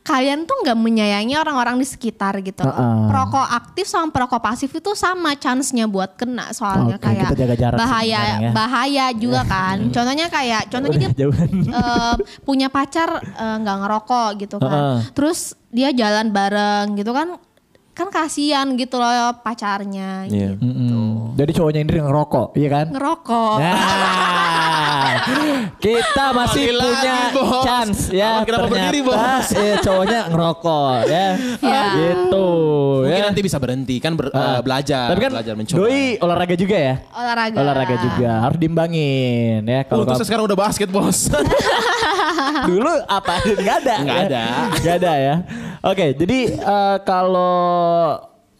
Kalian tuh nggak menyayangi orang-orang di sekitar gitu. Heeh. Perokok aktif sama perokok pasif itu sama chance-nya buat kena soalnya Oke, kayak kita jaga jarak bahaya sebenarnya Iya. ya. bahaya juga kan. Contohnya kayak contohnya [LAUGHS] dia Udah jauhan. eh, punya pacar eh, nggak ngerokok gitu kan. Heeh. Terus dia jalan bareng gitu kan kan kasihan gitu loh pacarnya Iya. gitu. Mm-mm. Jadi cowoknya ini ngerokok, iya kan? ngerokok. Nah, kita masih Lagi-lagi, punya Bos. chance ya. Aman kenapa berdiri, Bos? eh, cowoknya ngerokok ya. Ya. Gitu Mungkin Iya. ya. nanti bisa berhenti kan ber- eh, belajar, Tapi kan belajar mencoba. doi olahraga juga ya. olahraga. Olahraga juga harus diimbangin ya. Kalau Untung nggak- saya sekarang udah basket bos. dulu [LAUGHS] apa? Enggak ada. Nggak [LAUGHS] ada. Enggak ada ya. Oke, jadi eh, kalau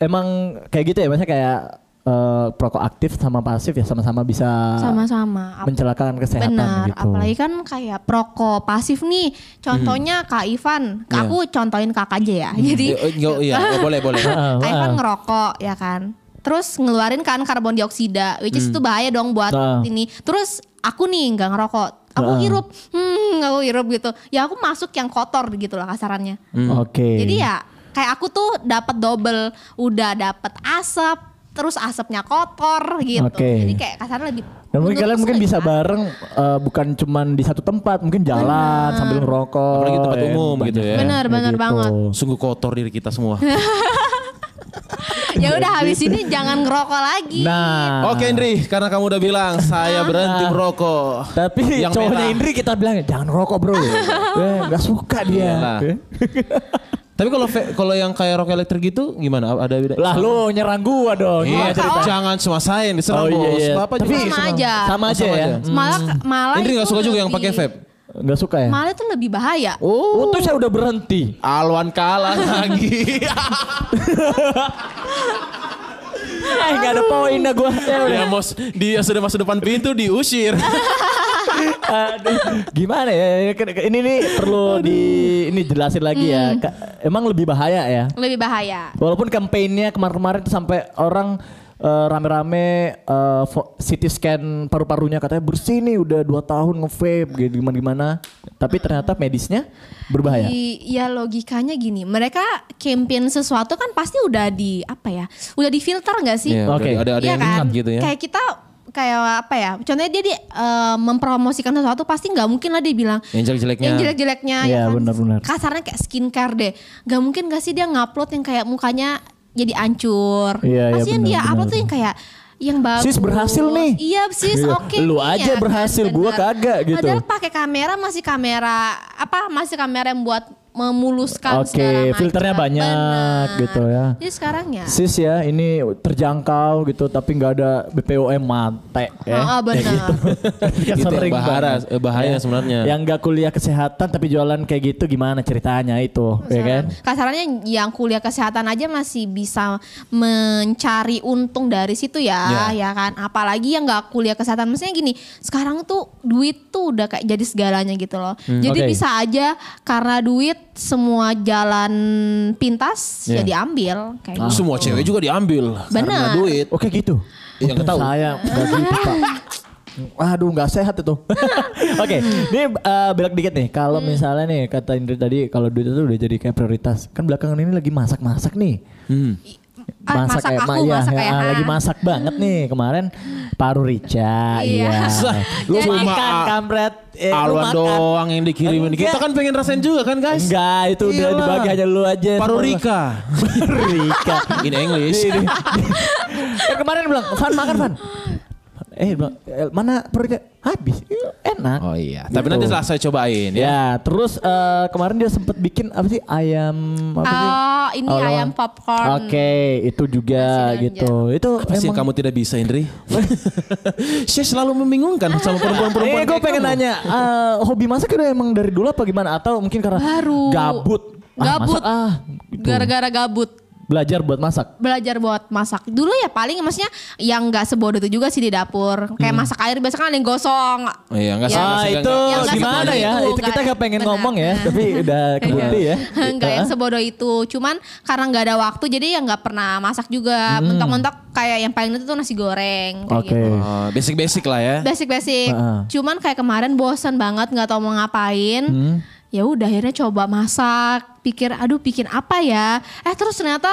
emang kayak gitu ya, maksudnya kayak eh, perokok aktif sama pasif ya sama-sama bisa Sama-sama. Ap- mencelakakan kesehatan Benar, gitu. apalagi kan kayak proko pasif nih. Hmm. Contohnya Kak Ivan, Iya. aku contohin Kak aja ya. [LAUGHS] Jadi [LAUGHS] Eh, eh, nggak- iya, nggak boleh [LAUGHS] boleh. [LAUGHS] Kak Ivan ngerokok ya kan. Terus ngeluarin kan karbon dioksida, which Hmm. is itu bahaya dong buat Ah. ini. Terus aku nih nggak ngerokok, aku hirup, hmm, aku hirup gitu. Ya aku masuk yang kotor gitu lah kasarannya. Hmm. Oke. Jadi ya kayak aku tuh dapat double, udah dapat asap, terus asapnya kotor gitu. Oke. Jadi kayak kasarnya lebih. Dan mungkin menurutku kalian mungkin sih ya. bisa lebih bareng eh, bukan cuman di satu tempat, mungkin jalan sambil ngerokok. Apalagi tempat ya, umum banyak gitu ya. kayak Benar, benar banget. Sungguh kotor diri kita [LAUGHS] semua. ya udah habis ini jangan ngerokok lagi. Nah, Oke Indri, karena kamu udah bilang Ah. saya berhenti merokok. tapi [LAUGHS] Yang cowoknya merah. Indri kita bilang jangan rokok [LAUGHS] bro. eh, gak suka dia. Iyalah. [LAUGHS] Eh. Tapi kalau ve- kalau yang kayak rokok elektrik gitu gimana? Ada beda? lah lu nyerang gua dong. Iya, Gimana cerita? jangan cuma saya yang diserang Oh, iya, bos. iya. Bapak Tapi- sama juga. aja. Sama aja Sama ya. aja. Malah malah Indri nggak itu suka juga yang pakai lebih- vape. Gak suka ya? Malah itu lebih bahaya. Oh, tuh saya udah berhenti. Alwan [LAUGHS] kalah lagi. Eh, gak ada poinnya gua. [LAUGHS] Ya udah. ya bos, dia sudah masuk depan pintu diusir. Ah. Aduh, gimana ya? Ini nih perlu di ini jelasin lagi ya. Ka- Emang lebih bahaya ya. Lebih bahaya. Walaupun kampanyenya kemarin-kemarin tuh sampai orang eh, rame-rame eh, fo- CT scan paru-parunya katanya bersih nih udah 2 tahun nge-vape gitu gimana-gimana. Tapi ternyata medisnya berbahaya. I- ya logikanya gini, mereka campaign sesuatu kan pasti udah di apa ya? Udah difilter nggak sih? Iya, Oke. Ada ada Iya yang lihat gitu ya. Kayak kita kayak apa ya? Contohnya dia di, eh, mempromosikan sesuatu pasti nggak mungkin lah dia bilang Yang jelek-jeleknya. Yang jelek-jeleknya Iya, kan? benar-benar. Kasarnya kayak skincare deh. Nggak mungkin gak sih dia ngupload yang kayak mukanya jadi ancur. Iya, iya, pasti yang dia benar-benar. upload tuh yang kayak yang bagus. Sis berhasil nih. Iya, sis Iya. oke. Lu nih aja ya, berhasil, gua benar. kagak gitu. Padahal pakai kamera masih kamera apa masih kamera yang buat memuluskan Oke, segala macam. filternya banyak Benar. gitu ya. Jadi sekarang ya. Sis ya, ini terjangkau gitu, tapi nggak ada BPOM mate. Ah, ah, benar. Kan Itu yang sering bahara- banget. eh, bahaya Ya. sebenarnya. Yang nggak kuliah kesehatan tapi jualan kayak gitu gimana ceritanya itu, ya kan? Kasarannya yang kuliah kesehatan aja masih bisa mencari untung dari situ ya, Iya. ya kan. Apalagi yang nggak kuliah kesehatan, maksudnya gini, sekarang tuh duit tuh udah kayak jadi segalanya gitu loh. jadi Hmm, oke. bisa aja karena duit semua jalan pintas Iya. ya diambil Ah, kayak gitu. Nah, Oh. Semua cewek juga diambil karena Benar. duit. Oke gitu. Iya, nggak tahu. Saya nggak gitu pak. Aduh nggak sehat itu. Oke, ini eh, belak dikit nih. Kalau misalnya nih kata Indri tadi kalau duit itu udah jadi kayak prioritas. Kan belakangan ini lagi masak-masak nih. Ah, masak kayak aku, mak- iya, masak iya, kayak ah, ah. lagi masak banget nih kemarin paru rica Iya. [LAUGHS] iya. Lu Jadi- makan kampret eh, lu Alwan makan. doang yang dikirimin. Kita kan pengen rasain juga kan guys? Enggak, itu udah Iya. Iyalah. dibagi aja lu aja. Paru [LAUGHS] Rika. Paru [LAUGHS] Rika. In English. Ini- [LAUGHS] Kan kemarin bilang, "Fan makan, Fan." Eh, bilang, "Eh, mana Paru Rika? Habis. Iya, Enak. Oh iya. Tapi Gitu. nanti setelah saya cobain ya. Ya, terus eh, kemarin dia sempet bikin apa sih ayam apa sih? Oh, ini Oh, ayam lawan. popcorn. Oke, itu juga Nasi dan gitu. Itu Apa sih yang emang- kamu tidak bisa Indri? [LAUGHS] Saya selalu membingungkan sama perempuan-perempuan Eh, gue kayak pengen kamu. nanya, eh, hobi masak itu emang dari dulu apa gimana? Atau mungkin karena Baru. gabut? Ah, Gabut. masak ah, gitu. Gara-gara gabut. Belajar buat masak. belajar buat masak dulu ya paling maksudnya yang nggak sebodoh itu juga sih di dapur Hmm. kayak masak air biasa kan ada yang gosong Iya, enggak Ya, sama Ah saya itu enggak- yang nggak gimana seperti ya? itu, Itu, kita nggak- nggak pengen benar. ngomong ya, tapi udah kebukti ya. [LAUGHS] nggak yang Ah. sebodoh itu cuman karena nggak ada waktu jadi ya nggak pernah masak juga mentok-mentok kayak yang paling itu tuh nasi goreng kayak Hmm. Oke. gitu. Oh, Basic-basic lah Nah, ya. basic-basic Ah. cuman kayak kemarin bosen banget nggak tahu mau ngapain Hmm. ya udah akhirnya coba masak pikir aduh bikin apa ya eh terus ternyata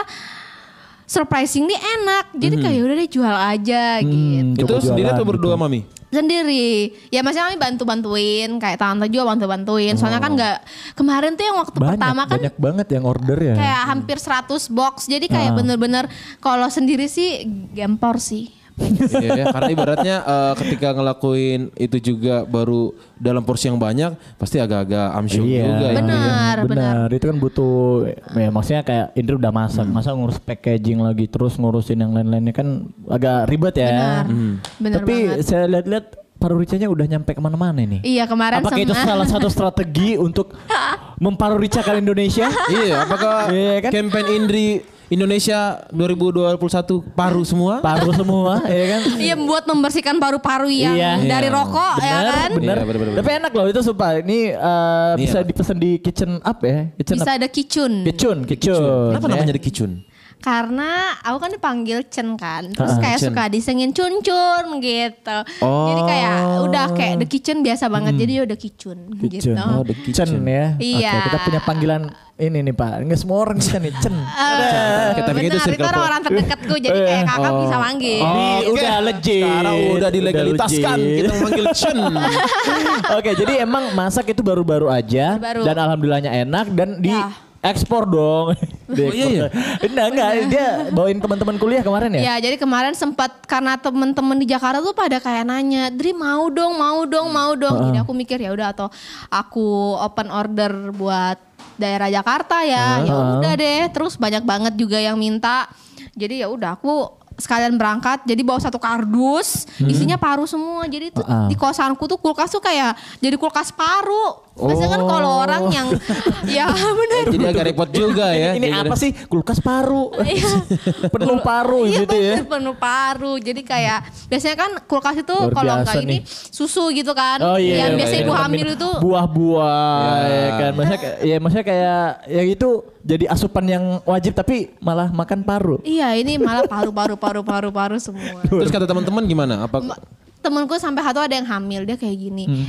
surprisingly enak jadi Hmm. kayak udah deh jual aja gitu Itu Coba sendiri jualan atau berdua [LAUGHS] mami? sendiri ya maksudnya kami bantu bantuin kayak tante juga bantu bantuin soalnya kan nggak kemarin tuh yang waktu pertama kan Oh. banyak banget yang order ya. kayak hampir 100 box jadi kayak bener-bener kalau sendiri sih gempor sih Iya, ya. karena ibaratnya eh, ketika ngelakuin itu juga baru dalam porsi yang banyak pasti agak-agag amsyuk juga. ya. Benar. Iya. benar. Itu kan butuh, ya maksudnya kayak Indri udah masak, Hmm. masa ngurus packaging lagi, terus ngurusin yang lain-lainnya kan agak ribet ya. Benar. Hmm. Benar Tapi banget. saya lihat-lihat paruricanya udah nyampe kemana-mana nih. iya kemarin Apakah itu salah satu [LAUGHS] strategi untuk memparuricakan Indonesia? Iya, apakah [LAUGHS] Iya, kan? campaign Indri Indonesia 2021 paru semua? Paru semua, ya kan? iya buat membersihkan paru-paru yang Iya. dari Iya. rokok Benar, ya kan benar. Iya, benar, benar, Tapi enak loh itu sumpah. Ini eh, Iya. bisa dipesan di kitchen up ya, kitchen bisa up. ada kicun Kitchen, kitchen. Kenapa ya. namanya jadi kicun? karena aku kan dipanggil Chen kan terus Ah, kayak Chen. suka disengin cun cun gitu jadi kayak udah kayak the kitchen biasa banget jadi ya udah kicun gitu Kitchen. Oh, the kitchen ya. Iya. Oke, kita punya panggilan ini nih Pak. Enggak semua orang bisa nih, Chen. Eh, Kita pikir itu benar, itu circle orang-orang terdekatku jadi kayak kakak bisa manggil Ini Oh, udah legit. Sekarang udah dilegalitaskan gitu. legit. kita memanggil Chen. [LAUGHS] Oke, jadi emang masak itu baru-baru aja Baru. dan alhamdulillahnya enak dan di Ya. ekspor dong. Di Oh, iya, iya? ekspor. [LAUGHS] Enggak, enggak. Dia bawain teman-teman kuliah kemarin ya? Ya jadi kemarin sempat karena temen-temen di Jakarta tuh pada kayak nanya, Dri mau dong, mau dong, mau dong. Jadi aku mikir ya udah atau aku open order buat daerah Jakarta ya, ya udah deh. Terus banyak banget juga yang minta. Jadi ya udah aku sekalian berangkat jadi bawa satu kardus isinya paru semua jadi itu di kosanku tuh kulkas tuh kayak jadi kulkas paru biasanya kan kalau orang yang [LAUGHS] ya [LAUGHS] bener Jadi agak repot juga ya. Ini Jadi apa sih? Kulkas paru. Iya. [LAUGHS] Penuh paru Iya gitu ya. bener, penuh paru. Jadi kayak biasanya kan kulkas itu Luar kalau enggak biasa ini nih. susu gitu kan. Oh iya, Yang biasa iya, ibu iya. hamil itu buah-buah Ya. ya. kan. Maksudnya kayak- ya maksudnya kayak ya itu jadi asupan yang wajib tapi malah makan paru. Iya, ini malah paru-paru paru-paru paru semua. Terus kata teman-teman gimana? Apa Temenku sampai satu ada yang hamil, dia kayak gini. Hmm.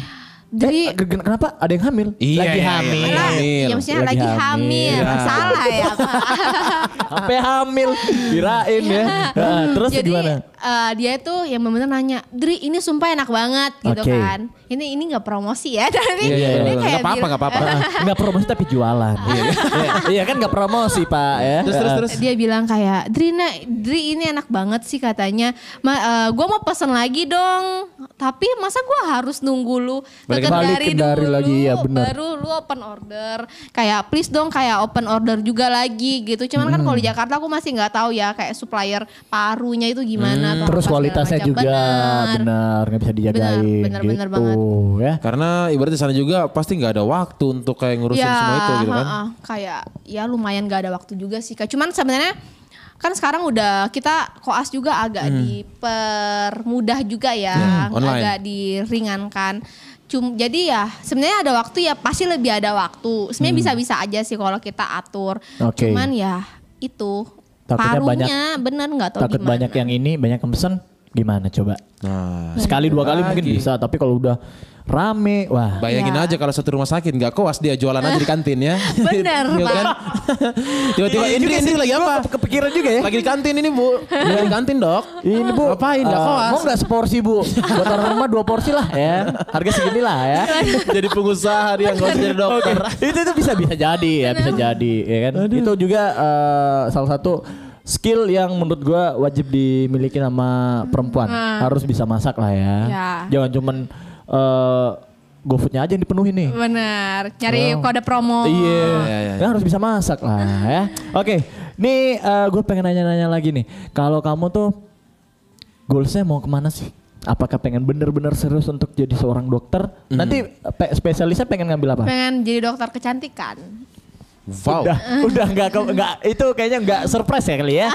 Jadi Eh, gen- kenapa ada yang hamil? Iya, Lagi iya, iya, hamil. [LAUGHS] lagi Lah, hamil. iya, maksudnya Lagi lagi, hamil. hamil. Salah ya, Pak. [LAUGHS] Sampai hamil, kirain [LAUGHS] ya. Nah, terus Jadi gimana? eh, dia itu yang benar-benar nanya, Dri ini sumpah enak banget gitu Oke. kan. Ini ini nggak promosi ya [LAUGHS] tapi Iya, iya, dia iya. kayak Nggak apa-apa, bilang- nggak apa-apa. Enggak promosi tapi jualan. Iya, Iya kan enggak promosi, Pak ya. Terus terus terus. Dia bilang kayak Dri, na- Dri ini enak banget sih katanya. Ma, eh, gua mau pesen lagi dong. Tapi masa gua harus nunggu lu ke Balik- balik Kendari Kendari dulu lagi, ya bener. baru lu open order. Kayak please dong kayak open order juga lagi gitu. Cuman Hmm. kan kalau di Jakarta aku masih nggak tahu ya kayak supplier parunya itu gimana atau Hmm. Terus apa segala kualitasnya macam. juga benar, nggak bisa dijagain Benar, benar, benar gitu ya. Karena ibaratnya sana juga pasti nggak ada waktu untuk kayak ngurusin ya, semua itu gitu kan. ha-ha. kayak ya lumayan gak ada waktu juga sih kak. Cuman sebenarnya kan sekarang udah kita koas juga agak dipermudah juga ya, Hmm, online. agak diringankan. Cum, jadi ya sebenarnya ada waktu ya pasti lebih ada waktu. Sebenarnya bisa-bisa aja sih kalau kita atur. Oke. Cuman ya itu Takutnya paruhnya banyak- bener nggak tahu Takut gimana. banyak [LAUGHS] yang ini, banyak yang pesen, gimana coba? Nah, Sekali dua kali mungkin Lagi. bisa, tapi kalau udah rame, wah. Bayangin Ya. aja kalau satu rumah sakit nggak koas dia jualan aja di kantin ya. [LAUGHS] Bener, Iya kan? Tiba-tiba Indri, Indri lagi apa? Kepikiran juga ya. Lagi di kantin ini [LAUGHS] bu. Lagi di kantin dok. Ini bu, Ngapain? Nggak eh, koas. Mau nggak seporsi bu? Buat orang rumah dua porsi lah ya. Harga segini lah ya. [LAUGHS] jadi pengusaha dia nggak usah jadi dokter. [LAUGHS] itu itu bisa bisa jadi ya bisa jadi ya kan itu juga eh, salah satu skill yang menurut gua wajib dimiliki sama perempuan harus bisa masak lah Hmm. ya Ya. jangan cuman eh GoFoodnya aja yang dipenuhi nih Bener, nyari kode promo. Iya, Iya, iya, Kan harus bisa masak lah ya. Oke, nih gue pengen nanya-nanya lagi nih. Kalau kamu tuh goalsnya mau kemana sih? Apakah pengen bener-bener serius untuk jadi seorang dokter? Hmm. Nanti eh, pe- spesialisnya pengen ngambil apa? Pengen jadi dokter kecantikan. Wow. [LAUGHS] Udah, udah nggak ke- nggak itu kayaknya nggak surprise ya kali ya.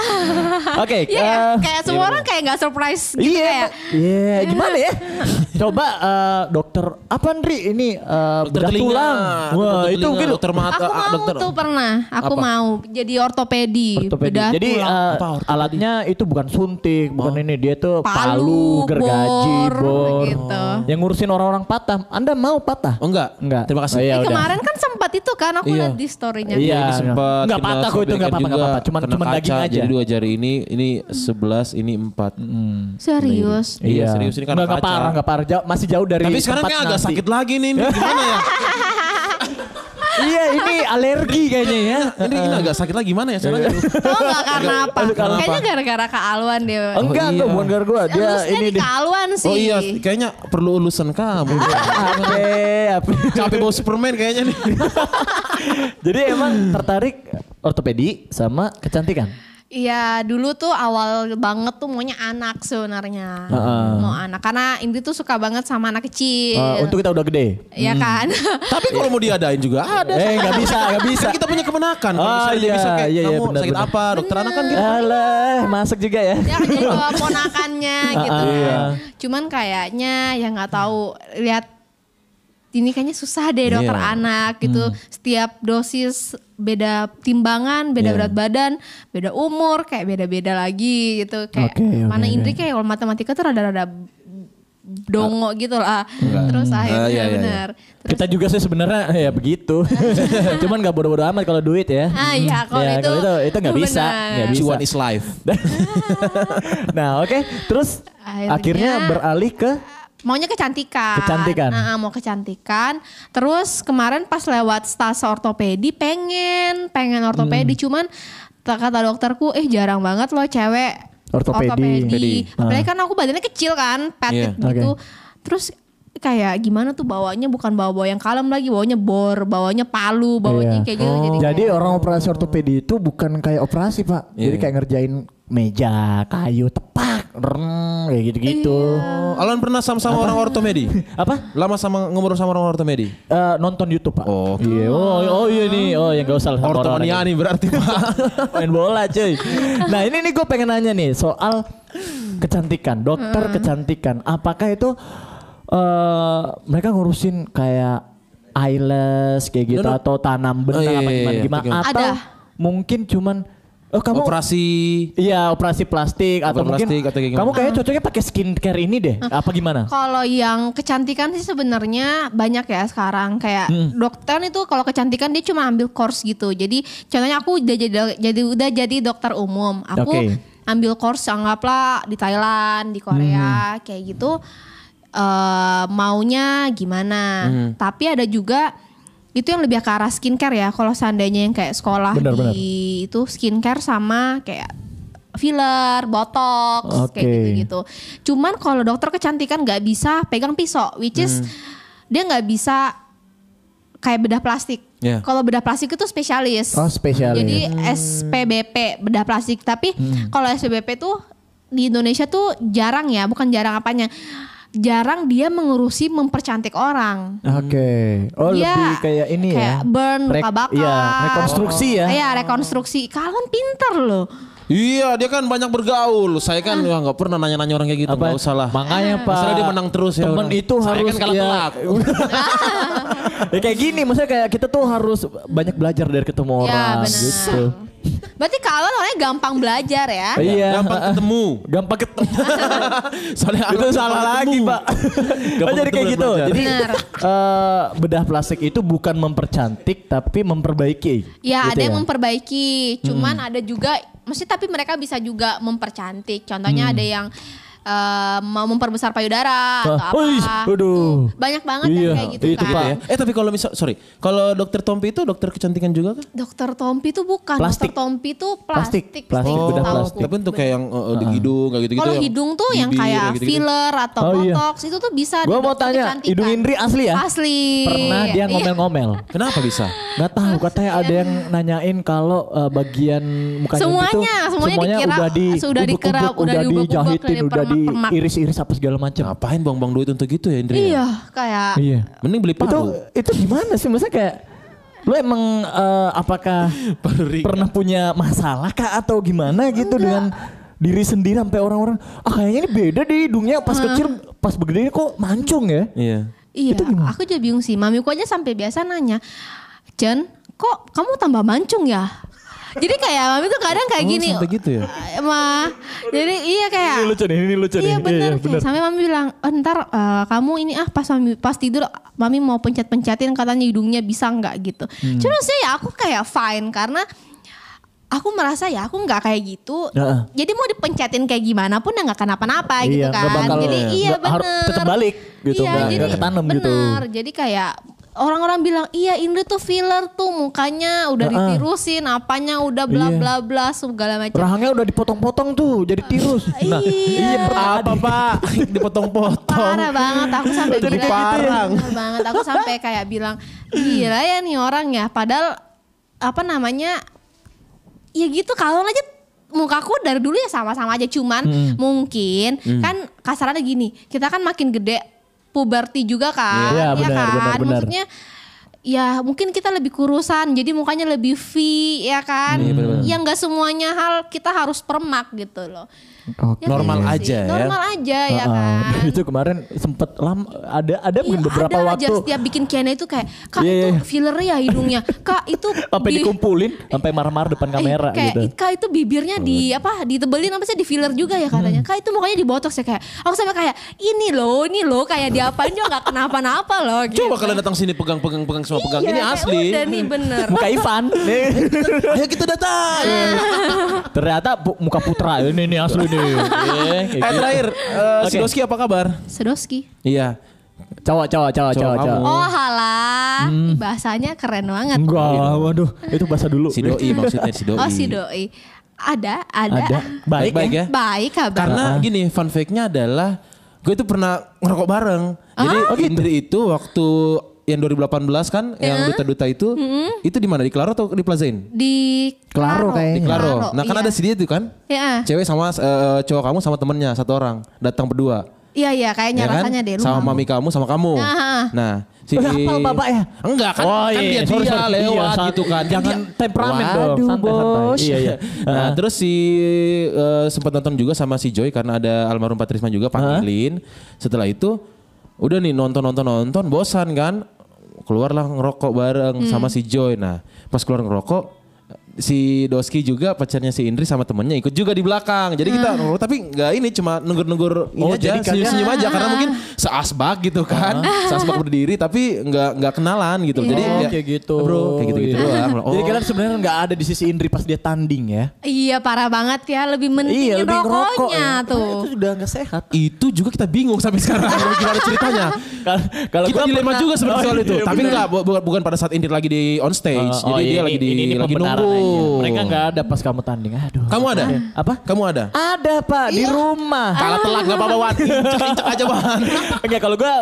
Oke. Iya, ya, eh, kayak semua orang kayak nggak surprise gitu Iya, kayak. iya, gimana [LAUGHS] ya? Coba eh, dokter apa Andri ini eh, bedah tulang. Wah, dokter itu telinga, mungkin dokter mata, Aku ah, mau dokter. tuh pernah, aku Apa? mau jadi ortopedi, ortopedi. Iya, bedah Jadi tulang. eh, Apa ortopedi? Oh. alatnya itu bukan suntik, bukan ini dia tuh Palu, palu, gergaji, bor, bor. gitu. Yang ngurusin orang-orang patah. Anda mau patah? Oh enggak? Enggak. Terima kasih. Oh, iya, Eh, udah. kemarin kan sempat itu kan aku Iya. lihat di storynya. Iya. Ini sempat Nggak kena patah kok itu, nggak sobekan apa-apa, nggak juga, apa-apa. Cuman- kena cuman daging aja. Jadi dua jari ini, ini 11, ini 4. Serius. Iya, serius ini karena Nggak, nggak kaca. parah, nggak parah. Jauh- masih jauh dari Tapi sekarang tempat kayak agak nanti. sakit lagi nih. Ini gimana [LAUGHS] ya? iya, ini alergi kayaknya [LAUGHS] ya. Ini, ini agak sakit lagi gimana ya? Iya. Sekarang Tahu nggak karena apa? Aduh, karena apa? Kayaknya gara-gara kealuan deh. Enggak, enggak, bukan gara gua. Dia Oh, iya. Harusnya ini di deh. kealuan Kan sih. Oh iya, kayaknya perlu ulusan kamu. Ape, ape. Capek bawa Superman kayaknya nih. [LAUGHS] Jadi emang tertarik ortopedi sama kecantikan. Iya dulu tuh awal banget tuh maunya anak sebenarnya mau anak karena Indri tuh suka banget sama anak kecil Eh, untuk kita udah gede. ya kan [LAUGHS] Tapi kalau mau diadain juga ada. eh, nggak bisa, nggak bisa. Kan kita punya kemenakan. Kalau Oh, misalnya dia iya, bisa kayak iya, iya, kamu benar, sakit benar. apa, dokter anak kan gitu. Alah, masuk juga ya. Iya, ya jadi bawa [LAUGHS] ponakannya gitu kan. Iya. Cuman kayaknya ya nggak tahu lihat ini kayaknya susah deh dokter Iya. anak gitu. Setiap dosis beda timbangan, Iya. beda berat badan, beda umur, kayak beda-beda lagi gitu. Kayak Oke, oke, mana oke. Indri kayak kalau matematika tuh rada-rada dongo gitu lah. Terus akhirnya Ah. Ah, iya, iya, iya. benar. Terus Kita juga sih sebenarnya ya begitu. Cuman nggak bodoh-bodoh amat kalau duit ya. ah iya kalau Ya, itu kalau itu- itu nggak bisa, benar. nggak bisa. Cuan is life. nah, oke. Terus Akhirnya- akhirnya beralih ke maunya kecantikan. Kecantikan. Nah, mau kecantikan. Terus kemarin pas lewat stase ortopedi pengen, pengen ortopedi Hmm. cuman t- kata dokterku eh jarang banget loh cewek Ortopedi. Ortopedi. Apalagi Ah. kan aku badannya kecil kan, petit Iya. gitu. Terus kayak gimana tuh bawanya bukan bawa-bawa yang kalem lagi, bawanya bor, bawanya palu, bawanya Iya. kayak gitu. Jadi, Jadi orang operasi ortopedi itu bukan kayak operasi pak, jadi kayak ngerjain meja, kayu, tepak, reng, kayak gitu-gitu. Oh, Alan pernah sama sama [LAUGHS] orang ortopedi? Apa? Lama sama ngobrol sama orang ortopedi? Eh, nonton YouTube pak. Oh. Iya. Oh, oh iya nih. Oh ya nggak usah lah. sama orang-orang Ortomania nih berarti Pak. gitu. Main bola cuy. Nah ini nih gue pengen nanya nih soal kecantikan, dokter kecantikan. Apakah itu eh mereka ngurusin kayak eyelash kayak gitu No, no. atau tanam benang Oh, iya, apa iya, gimana iya. gimana? Ada. Atau mungkin cuman oh kamu Operasi Iya operasi plastik atau mungkin Operasi plastik atau kayak gimana? kamu kayaknya cocoknya pakai skincare ini deh. Apa gimana? Kalau yang kecantikan sih sebenarnya banyak ya sekarang kayak Hmm. dokter itu kalau kecantikan dia cuma ambil course gitu. Jadi contohnya aku udah jadi jadi udah jadi dokter umum. Aku Oke. ambil course anggaplah di Thailand, di Hmm. Korea kayak gitu eh maunya gimana. Hmm. Tapi ada juga itu yang lebih ke arah skincare ya. Kalau seandainya yang kayak sekolah Benar, benar. di itu skincare sama kayak filler, botox kayak Oke. gitu-gitu. Cuman kalau dokter kecantikan nggak bisa pegang pisau, which is Hmm. dia nggak bisa kayak bedah plastik. Iya. Kalau bedah plastik itu spesialis. Ya. Oh, spesialis. Hmm. Jadi SPBP bedah plastik. Tapi kalau SPBP tuh di Indonesia tuh jarang ya, bukan jarang apanya. Jarang dia mengurusi mempercantik orang. Oke. Oh Iya, lebih kayak ini kayak ya. burn, Rek- luka bakar. Iya, rekonstruksi ya. Iya, rekonstruksi. Kalian pinter loh. Iya, dia kan banyak bergaul. Saya kan Ah. ya nggak pernah nanya-nanya orang kayak gitu, Apa? nggak usah lah. Makanya Pak. Masalah dia menang terus ya Temen orang. itu Saya harus Iya. kan [LAUGHS] kalah-kalah. [LAUGHS] ya kayak gini, maksudnya kayak kita tuh harus banyak belajar dari ketemu ya, orang benar. gitu. Berarti kalian orangnya gampang belajar ya. Iya. Gampang [LAUGHS] ketemu. Gampang ketemu. Soalnya itu anak salah gampang lagi ketemu. pak. Oh, Gampang jadi kayak ketemu gitu. belajar. Jadi Benar. eh, bedah plastik itu bukan mempercantik tapi memperbaiki. Ya Gitu Hmm. ada yang memperbaiki, cuman ada juga, mesti tapi mereka bisa juga mempercantik. Hmm. Contohnya ada yang eh, mau memperbesar payudara atau Ah, apa. wih, aduh. Tuh, banyak banget Iya, yang kayak gitu itu kan. Pak. Ya. Eh tapi kalau misal, sorry, kalau dokter Tompi itu dokter kecantikan juga kan? Dokter Tompi tuh bukan, Plastik. dokter Tompi tuh Plastik. plastik. Plastik, setahu bedah aku. Oh. plastik. Ah. Tapi untuk kayak yang eh, eh, di hidung kayak gitu-gitu. Kalau yang hidung tuh yang bibir, kayak gitu-gitu. filler atau Oh, iya. botox itu tuh bisa. Gua mau dokter tanya, kecantikan. hidung Indri asli ya? Asli. Pernah dia Iya. ngomel-ngomel. Kenapa bisa? Gak tahu katanya ada yang nanyain kalau eh, bagian mukanya Semuanya, itu semuanya dikira- udah di sudah dikira- ubek-ubek, udah udah diubek-ubek, dijahitin, udah udah dipermak-permak. diiris-iris apa segala macam. Ngapain buang-buang duit untuk gitu ya Indri? Iya, kayak. Iya. Mending beli Itu paru. itu gimana sih maksudnya kayak lu emang eh, apakah pernah punya masalah kah atau gimana gitu dengan diri sendiri sampai orang-orang ah kayaknya ini beda deh hidungnya pas kecil pas begede kok mancung ya. Iya. Iya, aku juga bingung sih. Mamiku aja sampai biasa nanya, Jen, kok kamu tambah mancung ya? Jadi kayak mami tuh kadang kayak Oh, gini. sampai gitu [LAUGHS] ya? "Eh, Ma, jadi iya kayak. Ini lucu nih, ini lucu nih. Iya benar. Iya, benar. Sampai mami bilang, "Eh, ntar eh, kamu ini ah pas mami pas tidur mami mau pencet-pencetin katanya hidungnya bisa nggak gitu. Hmm. Cuma sih ya aku kayak fine karena aku merasa ya aku nggak kayak gitu. Heeh. Jadi mau dipencetin kayak gimana pun ya nggak kenapa-napa Iya, gitu kan. nggak bakal- jadi iya nggak- harus bener. tetap balik gitu, Iya, nggak- jadi nggak ketanam gitu. bener. Jadi kayak orang-orang bilang iya Indri tuh filler tuh mukanya udah Heeh. ditirusin apanya udah bla Iya. bla bla segala macam. Rahangnya udah dipotong-potong tuh jadi tirus. Iya. apa [LAUGHS] Pak? Dipotong-potong. parah banget aku sampai Jadi bilang kayak gitu ya? parah banget aku sampai kayak bilang gila ya nih orang ya padahal apa namanya ya gitu kalau aja mukaku dari dulu ya sama-sama aja cuman mungkin kan kasarannya gini kita kan makin gede puberti juga kan Iya, ya benar, benar, kan benar. maksudnya ya mungkin kita lebih kurusan jadi mukanya lebih V ya kan yang nggak semuanya hal kita harus permak gitu loh Ya Normal aja nggak sih? ya. normal aja ya Heeh. kan Nah, [LAUGHS] itu kemarin sempet lam ada ada Iya, mungkin Kan beberapa ada waktu aja setiap bikin Kiana itu kayak kak Iya, itu iya. filler ya hidungnya kak itu sampai bi- dikumpulin sampai marah-marah depan eh, kamera kayak gitu. "Kak, itu bibirnya di apa ditebelin apa sih di filler juga ya katanya kak itu mukanya di botox ya kayak aku sampai kayak ini loh ini loh kayak diapain juga nggak kenapa-napa loh gitu. Coba kalian datang sini pegang-pegang-pegang semua pegang. Iya, Ini kayak asli. udah nih bener Muka [LAUGHS] Ivan. Ayo kita [LAUGHS] datang. Ternyata bu- muka putra ini nih asli [LAUGHS] nih. Iya, kayak Eh gitu. terakhir, eh, si Oke. Doski apa kabar? Sedoski Iya. Cowok, cowok, cowok, cowok, Cowok cowok. kamu. oh halah Ih, bahasanya keren banget Enggak, waduh, itu bahasa dulu. Si [LAUGHS] Doi maksudnya si Doi. oh si doi ada ada, Ada baik, Baik-baik ya. ya. baik kabar Ah. Karena gini, fun fact-nya adalah gue itu pernah ngerokok bareng. Ah, Jadi oh, gitu. Indri itu waktu yang 2018 kan yang duta-duta itu itu di mana di Klaro atau di Plaza Inn? Eh? di Klaro kayaknya. Di Klaro. Nah, kan iya. ada si dia itu kan. Iya. Cewek sama eh, cowok kamu sama temennya satu orang datang berdua. Iya iya Ya kayaknya kan? rasanya deh lu Sama mau. mami kamu sama kamu. Ah. Nah, Eh, si hafal bapak ya? Enggak kan, Oh, kan iya, dia sorry, dia sorry. lewat Iya, gitu kan. sa- jangan temperamen dong. Waduh, Santai, santai. bos. Iya, iya. [LAUGHS] [LAUGHS] nah, Ah. terus si eh, sempat nonton juga sama si Joy karena ada almarhum Patrisman juga panggilin. Setelah itu udah nih nonton-nonton nonton Hmm. bosan kan. Keluarlah ngerokok bareng sama si Joy. Nah, pas keluar ngerokok si Doski juga pacarnya si Indri sama temennya ikut juga di belakang. Jadi kita oh, tapi nggak ini cuma Iya, nunggur-nunggur ini Oh, aja jadi kalian- senyum-senyum aja karena mungkin seasbak gitu kan. Seasbak berdiri tapi nggak nggak kenalan gitu. Jadi Oh, ya, kayak gitu. Bro, kayak gitu-gitu Iya. doang. [LAUGHS] Oh. Jadi kalian sebenarnya nggak ada di sisi Indri pas dia tanding ya. Iya parah banget ya, lebih iya, mending lebih ngerokok rokoknya ya. tuh. Itu sudah nggak sehat. itu juga kita bingung [LAUGHS] sampai sekarang gimana ceritanya. Kal- Kalau kita gua dilema pernah- juga sebenarnya Oh, soal itu. iya, Tapi bener. enggak bu- bu- bukan pada saat Indri lagi di on stage. Oh, [LAUGHS] oh, Jadi dia ini- lagi di ini- ini lagi pembenaran nunggu. aja. Mereka Iya. nggak ada pas kamu tanding. Aduh. Iya. Kamu ada? Apa? Kamu ada? Ada pak di rumah. Ah. Kalah telak nggak apa-apa Wan. Incek-incek aja Wan. [LAUGHS] Enggak kalau gue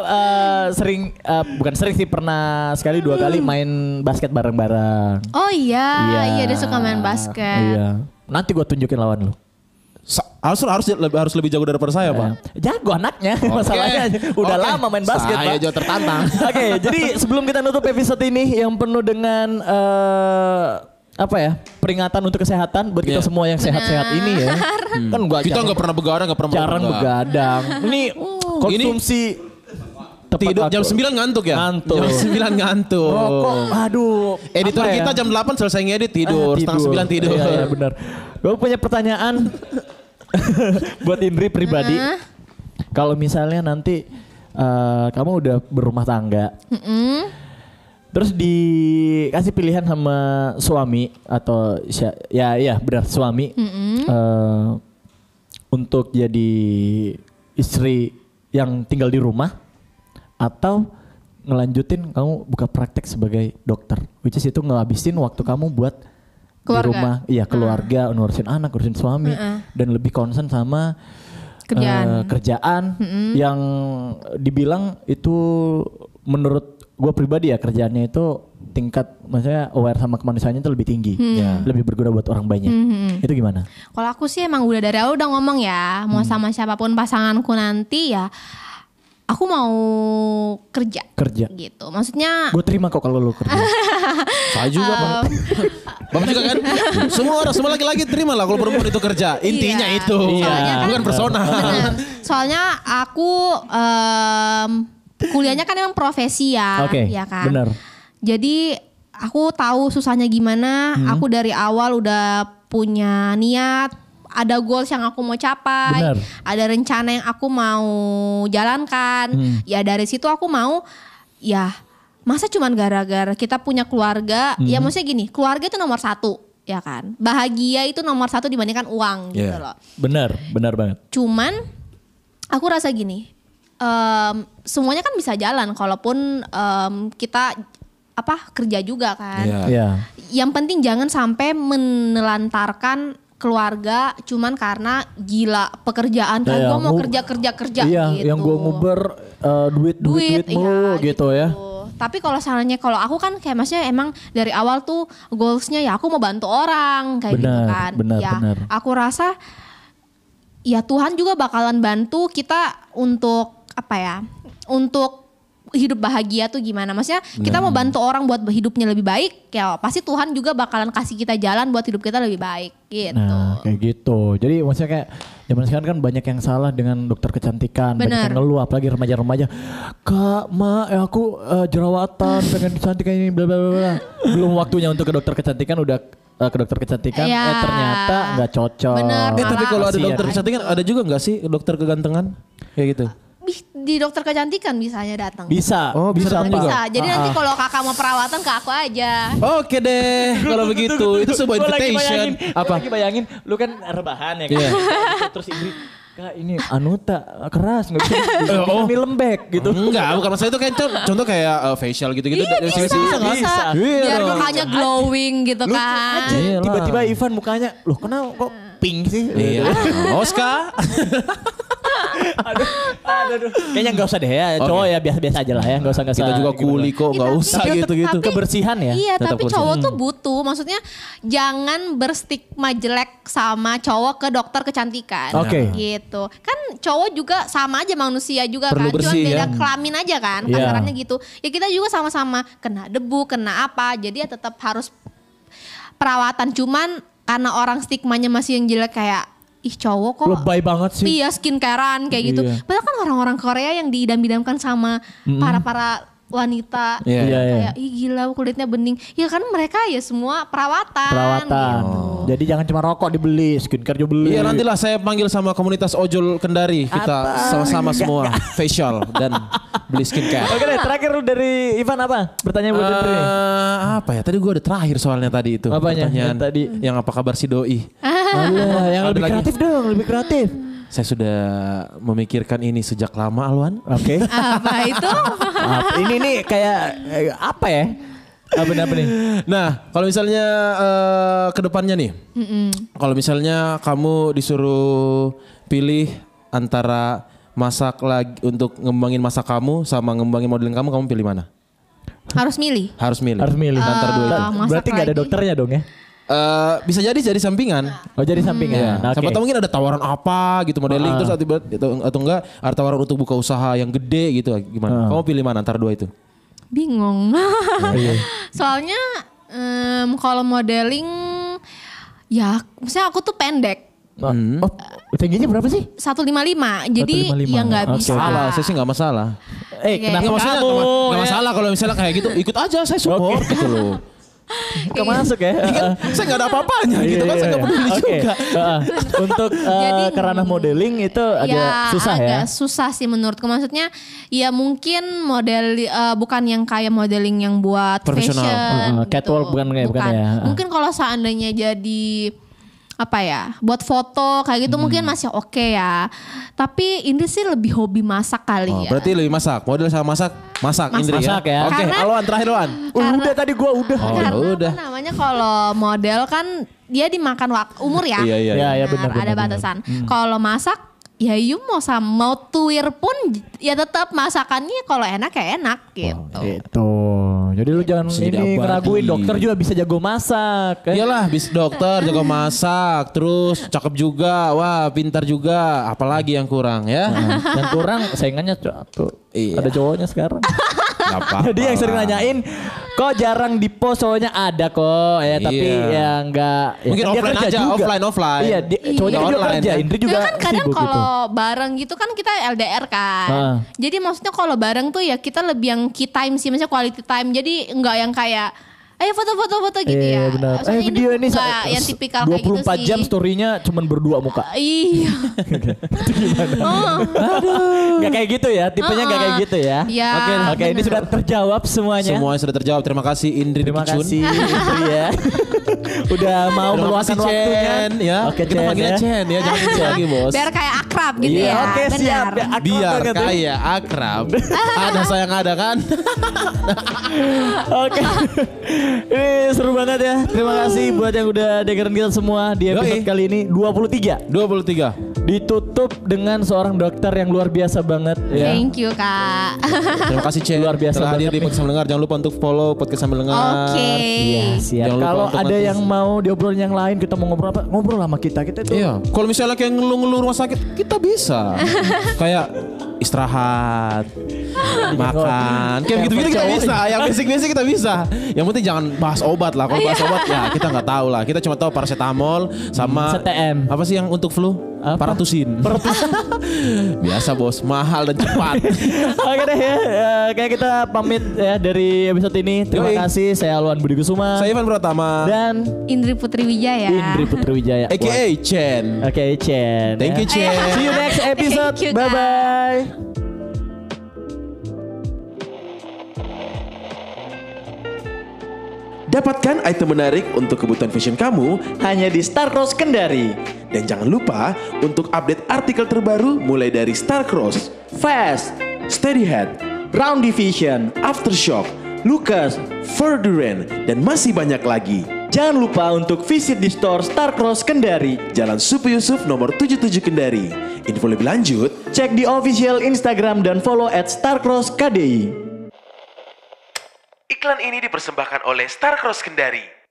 sering eh, bukan sering sih pernah sekali dua kali Hmm. main basket bareng-bareng. Oh iya, iya dia suka main basket. Iya. Nanti gue tunjukin lawan lu. [LAUGHS] Sa- Harus harus lebih harus lebih jago daripada saya, Pak. Jago anaknya Iya. masalahnya [LAUGHS] udah Oke. lama main basket Pak. Saya juga tertantang. [LAUGHS] Oke, jadi sebelum kita nutup episode ini yang penuh dengan eh, apa ya peringatan untuk kesehatan buat kita Iya. Hmm. semua yang sehat-sehat ini ya. Kan gua Kita jarang- nggak pernah begadang, nggak pernah jarang begadang. begadang. Ini konsumsi tepat Tidur jam waktu. 9 ngantuk ya? Ngantuk. Jam 9 ngantuk. Rokok, Oh. aduh. Editor apa ya? kita jam 8 selesai ngedit tidur, Ah, setengah 9 tidur. Iya, iya, benar. Gue punya [LAUGHS] pertanyaan buat Indri pribadi. Kalau misalnya nanti eh, kamu udah berumah tangga, Hmm. Mm-mm. terus dikasih pilihan sama suami atau sya- ya ya benar suami eh, untuk jadi istri yang tinggal di rumah atau ngelanjutin kamu buka praktek sebagai dokter which is itu ngehabisin waktu kamu buat di Keluarga. rumah Hmm. iya keluarga ngurusin anak ngurusin suami dan lebih concern sama Kerjaan. Hmm. eh, kerjaan yang dibilang itu menurut gue pribadi ya kerjaannya itu tingkat maksudnya aware sama kemanusiaannya itu lebih tinggi Hmm. Ya. lebih berguna buat orang banyak itu gimana Kalau aku sih emang udah dari awal udah ngomong ya, Hmm. mau sama siapapun pasanganku nanti ya, aku mau kerja kerja gitu. Maksudnya gue terima kok kalau lu [LAUGHS] kerja Saya juga, Pak. Bapak juga kan? semua orang, semua laki-laki terima lah kalau perempuan itu kerja. Intinya Iya. itu. Soalnya kan- Bukan persona. Benar. Soalnya aku em, kuliahnya kan emang profesi ya, Oke, ya kan. benar. Jadi aku tahu susahnya gimana. Hmm. Aku dari awal udah punya niat, ada goals yang aku mau capai, Benar. ada rencana yang aku mau jalankan. Hmm. Ya dari situ aku mau ya masa cuman gara-gara kita punya keluarga, ya Hmm. maksudnya gini, keluarga itu nomor satu, ya kan. Bahagia itu nomor satu dibandingkan uang gitu Ya. Iya. loh. benar benar banget Cuman aku rasa gini, em, semuanya kan bisa jalan, kalaupun em, kita apa kerja juga kan. Iya. Iya. Yang penting jangan sampai menelantarkan keluarga cuman karena gila pekerjaan kan Iya, gue mau ngu- kerja kerja kerja iya gitu. yang gue nguber eh, duit duit duit, mulu gitu ya iya, Tapi kalau sarannya kalau aku kan kayak maksudnya emang dari awal tuh goalsnya ya aku mau bantu orang kayak gitu Benar, kan. benar, ya benar. aku rasa ya Tuhan juga bakalan bantu kita untuk apa ya? Untuk hidup bahagia tuh gimana? Maksudnya kita mau bantu orang buat hidupnya lebih baik, ya pasti Tuhan juga bakalan kasih kita jalan buat hidup kita lebih baik gitu. Nah, kayak gitu. Jadi maksudnya kayak zaman sekarang kan banyak yang salah dengan dokter kecantikan, banyak Benar. yang ngeluh apalagi remaja-remaja. Kak, ma, eh, aku eh, jerawatan, pengen dicantik kayak ini bla bla bla, bla. Belum waktunya untuk ke dokter kecantikan udah eh, ke dokter kecantikan Iya. eh ternyata nggak cocok. Benar, Eh tapi Malah- kalau ada Kasihan. dokter kecantikan ada juga nggak sih dokter kegantengan? Kayak gitu. Ih, Di dokter kecantikan misalnya datang. Bisa. Ah, Oh, bisa datang Pak. juga. Bisa. Jadi nanti kalau kakak mau perawatan ke aku aja. Oke deh, kalau begitu itu sebuah Gua lagi invitation. bayangin, gua Apa? lagi bayangin, lu kan rebahan ya kan. Iya. Terus Indri, Kak ini Anuta keras nggak [LAUGHS] bisa, bisa, Eh, oh. ini lembek gitu. Enggak, bukan masalah itu kayak contoh, contoh kayak eh, facial gitu-gitu. Iya dari bisa, cewek-cewek bisa, kan? Iya Biar dong. mukanya glowing gitu Lucu kan. aja. Iya lah. Tiba-tiba Ivan mukanya, loh kenapa kok pink sih? Iya. Oscar. aduh, aduh, aduh. Kayaknya nggak usah deh ya, cowok ya biasa-biasa aja lah ya, nggak usah nggak usah. Kita juga gimana. kuli kok, Iya, Oh, nggak tapi- usah gitu. tapi- gitu-gitu. tapi- Kebersihan ya? Iya, Tetap tapi kebersihan. Hmm. cowok tuh butuh. Maksudnya jangan berstigma jelek sama cowok ke dokter kecantikan. Oke. Gitu. Kan cowok juga sama aja manusia juga Perlu kan. Cuman bersih, beda ya. kelamin aja kan. Iya. Kasarannya gitu. Ya kita juga sama-sama kena debu, kena apa. Jadi ya tetap harus perawatan. Cuman karena orang stigmanya masih yang jelek kayak ih cowok kok Lebay banget sih. Iya skincarean kayak gitu. Iya. Padahal kan orang-orang Korea yang diidam-idamkan sama para para wanita Iya. Iya, iya. kayak ih gila kulitnya bening ya kan mereka ya semua perawatan Perawatan. gitu. Jadi jangan cuma rokok dibeli, skincare juga beli. Oh. Iya nantilah saya panggil sama komunitas ojol kendari kita sama-sama semua facial dan beli Oh, skincare. Oke deh, terakhir dari Ivan apa? Bertanya buat Fitri. Eh, apa ya tadi gue ada terakhir soalnya tadi itu Apanya? pertanyaan Yang tadi? yang apa kabar si doi Ah. Allah, yang Ada lebih lagi. kreatif dong, lebih kreatif. saya sudah memikirkan ini sejak lama Alwan Oke. apa [LAUGHS] itu Apa- ini nih kayak eh, apa ya? Apa apa nih? Nah, kalau misalnya eh, ke depannya nih, kalau misalnya kamu disuruh pilih antara masak lagi untuk ngembangin masak kamu sama ngembangin modeling kamu, kamu pilih mana? harus milih Harus milih. Harus milih. Antara dua itu. Ah, masak Berarti nggak ada lagi. dokternya dong ya? Eh, bisa jadi jadi sampingan. Oh jadi sampingan. Ya, Oke. Siapa tahu mungkin ada tawaran apa gitu modeling terus tiba atau, atau enggak ada tawaran untuk buka usaha yang gede gitu gimana? Kamu pilih mana antara dua itu? bingung Oh, iya. [LAUGHS] soalnya em, kalau modeling ya misalnya aku tuh pendek Oh, Hmm. oh, tingginya berapa sih? 155 jadi 155. ya nggak Oke. bisa Salah, saya sih nggak masalah. Eh, Iya, kenapa Nggak maksudnya kamu? nggak ma- nggak masalah kalau misalnya kayak gitu ikut aja saya support gitu [LAUGHS] loh. gitu. Nggak masuk ya? Ini [LAUGHS] kan saya nggak ada apa-apanya Iya, gitu kan iya, saya nggak iya. peduli Oke. juga. [LAUGHS] Heeh. Untuk Jadi- Iya, karena Eh, modeling itu agak Iya, susah ya. agak susah sih menurutku. Maksudnya ya mungkin model eh, bukan yang kayak modeling yang buat Profesional. fashion. gitu. Heeh, Eh, catwalk bukan kayak- bukan ya. Mungkin kalau seandainya jadi apa ya buat foto kayak Hmm. gitu mungkin masih oke ya tapi ini sih lebih hobi masak kali Oh, ya berarti lebih masak, model sama masak, masak, Masak. Indri Iya. Masak ya. Oke, Karena- Alwan terakhir Alwan. udah tadi gua udah. Oh, karena ya udah. apa namanya kalau model kan dia dimakan wak- umur ya Iya, iya. Ya, ya Benar, benar benar. Hmm. ada benar. batasan. Kalau masak ya you mau sama mau tuir pun j- ya tetap masakannya kalau enak ya enak gitu. Gitu. Jadi lu jangan Bisa jadi ini abadi. Iya. ngeraguin dokter juga bisa jago masak. kan? Iyalah, bis dokter jago masak, terus cakep juga, wah pintar juga, apalagi yang kurang ya? Yang Nah, kurang saingannya tuh Iya. ada cowoknya sekarang. [LAUGHS] Nggak apa-apa Jadi yang sering lah. nanyain kok jarang di post cowoknya ada kok ya tapi Iya. ya enggak ya Mungkin kan dia offline kerja aja, juga. offline, offline. Iya, dia, Iya. cowoknya kan juga Online, kerja, kan? Indri juga Juga kan kadang sibuk gitu. kalau bareng gitu kan kita LDR kan. Ah. Jadi maksudnya kalau bareng tuh ya kita lebih yang key time sih, misalnya quality time. Jadi nggak yang kayak ayo foto-foto-foto gitu Iya, ya. benar. Soalnya Eh, video ini nggak sa- yang tipikal kayak gitu 24 sih. jam story-nya cuman berdua muka. Iya. [LAUGHS] Oh. Gak kayak gitu ya, tipenya gak kayak gitu ya. Ya, Oke, oke ini benar. sudah terjawab semuanya. Semuanya sudah terjawab. Terima kasih Indri Terima Dikicun. kasih Indri [LAUGHS] ya. Udah mau Terima meluangkan kasih waktunya. Chen ya. Oke, Kita Chen, panggilnya ya. Chen ya, jangan Chen lagi bos. Biar kayak akrab gitu Iya, ya. Oke, siap. Benar. [LAUGHS] Akrab Biar banget ya. kaya [LAUGHS] akrab. ada sayang ada kan? [LAUGHS] Oke. [LAUGHS] Ini seru banget ya. Terima kasih buat yang udah dengerin kita semua di episode Yoi. kali ini 23. 23. Ditutup dengan seorang dokter yang luar biasa banget ya. Thank you, Kak. Terima kasih Cek. Luar biasa Telah hadir banget di nih. Podcast Sambil Dengar. Jangan lupa untuk follow Podcast Sambil Dengar. [LAUGHS] Oke. Iya, siap. Jangan lupa Kalau untuk ada nanti- yang mau diobrolin yang lain, kita mau ngobrol apa? Ngobrol sama kita. Kita itu Iya. Kalau misalnya kayak ngeluh-ngeluh rumah sakit, kita [LAUGHS] bisa. kayak istirahat, makan, kayak gitu-gitu kita bisa. Yang basic-basic kita bisa. Yang penting jangan bahas obat lah. Kalau Iya. bahas obat ya kita nggak tahu lah. Kita cuma tahu paracetamol Hmm, sama CTM. Apa sih yang untuk flu? Apa? Paratusin. [LAUGHS] [LAUGHS] Biasa bos, mahal dan cepat. [LAUGHS] Oke deh ya, Eh, kayak kita pamit ya dari episode ini. Terima Yoi. kasih, saya Alwan Budi Kusuma Saya Ivan Pratama. dan Indri Putri Wijaya. Indri Putri Wijaya. AKA Chen. Oke, Chen. Thank you, ya. Chen. See you next episode. Thank you, Bye bye. Dapatkan item menarik untuk kebutuhan fashion kamu Hanya di Starcross Kendari. dan jangan lupa untuk update artikel terbaru mulai dari Starcross, Fast, Steadyhead, Round Division. Aftershock, Lucas, Furduran, dan masih banyak lagi. jangan lupa untuk visit di store Starcross Kendari. Jalan Supi Yusuf nomor 77 Kendari. Info lebih lanjut Cek di official Instagram dan follow at Starcross KDI. Iklan ini dipersembahkan oleh Starcross Kendari.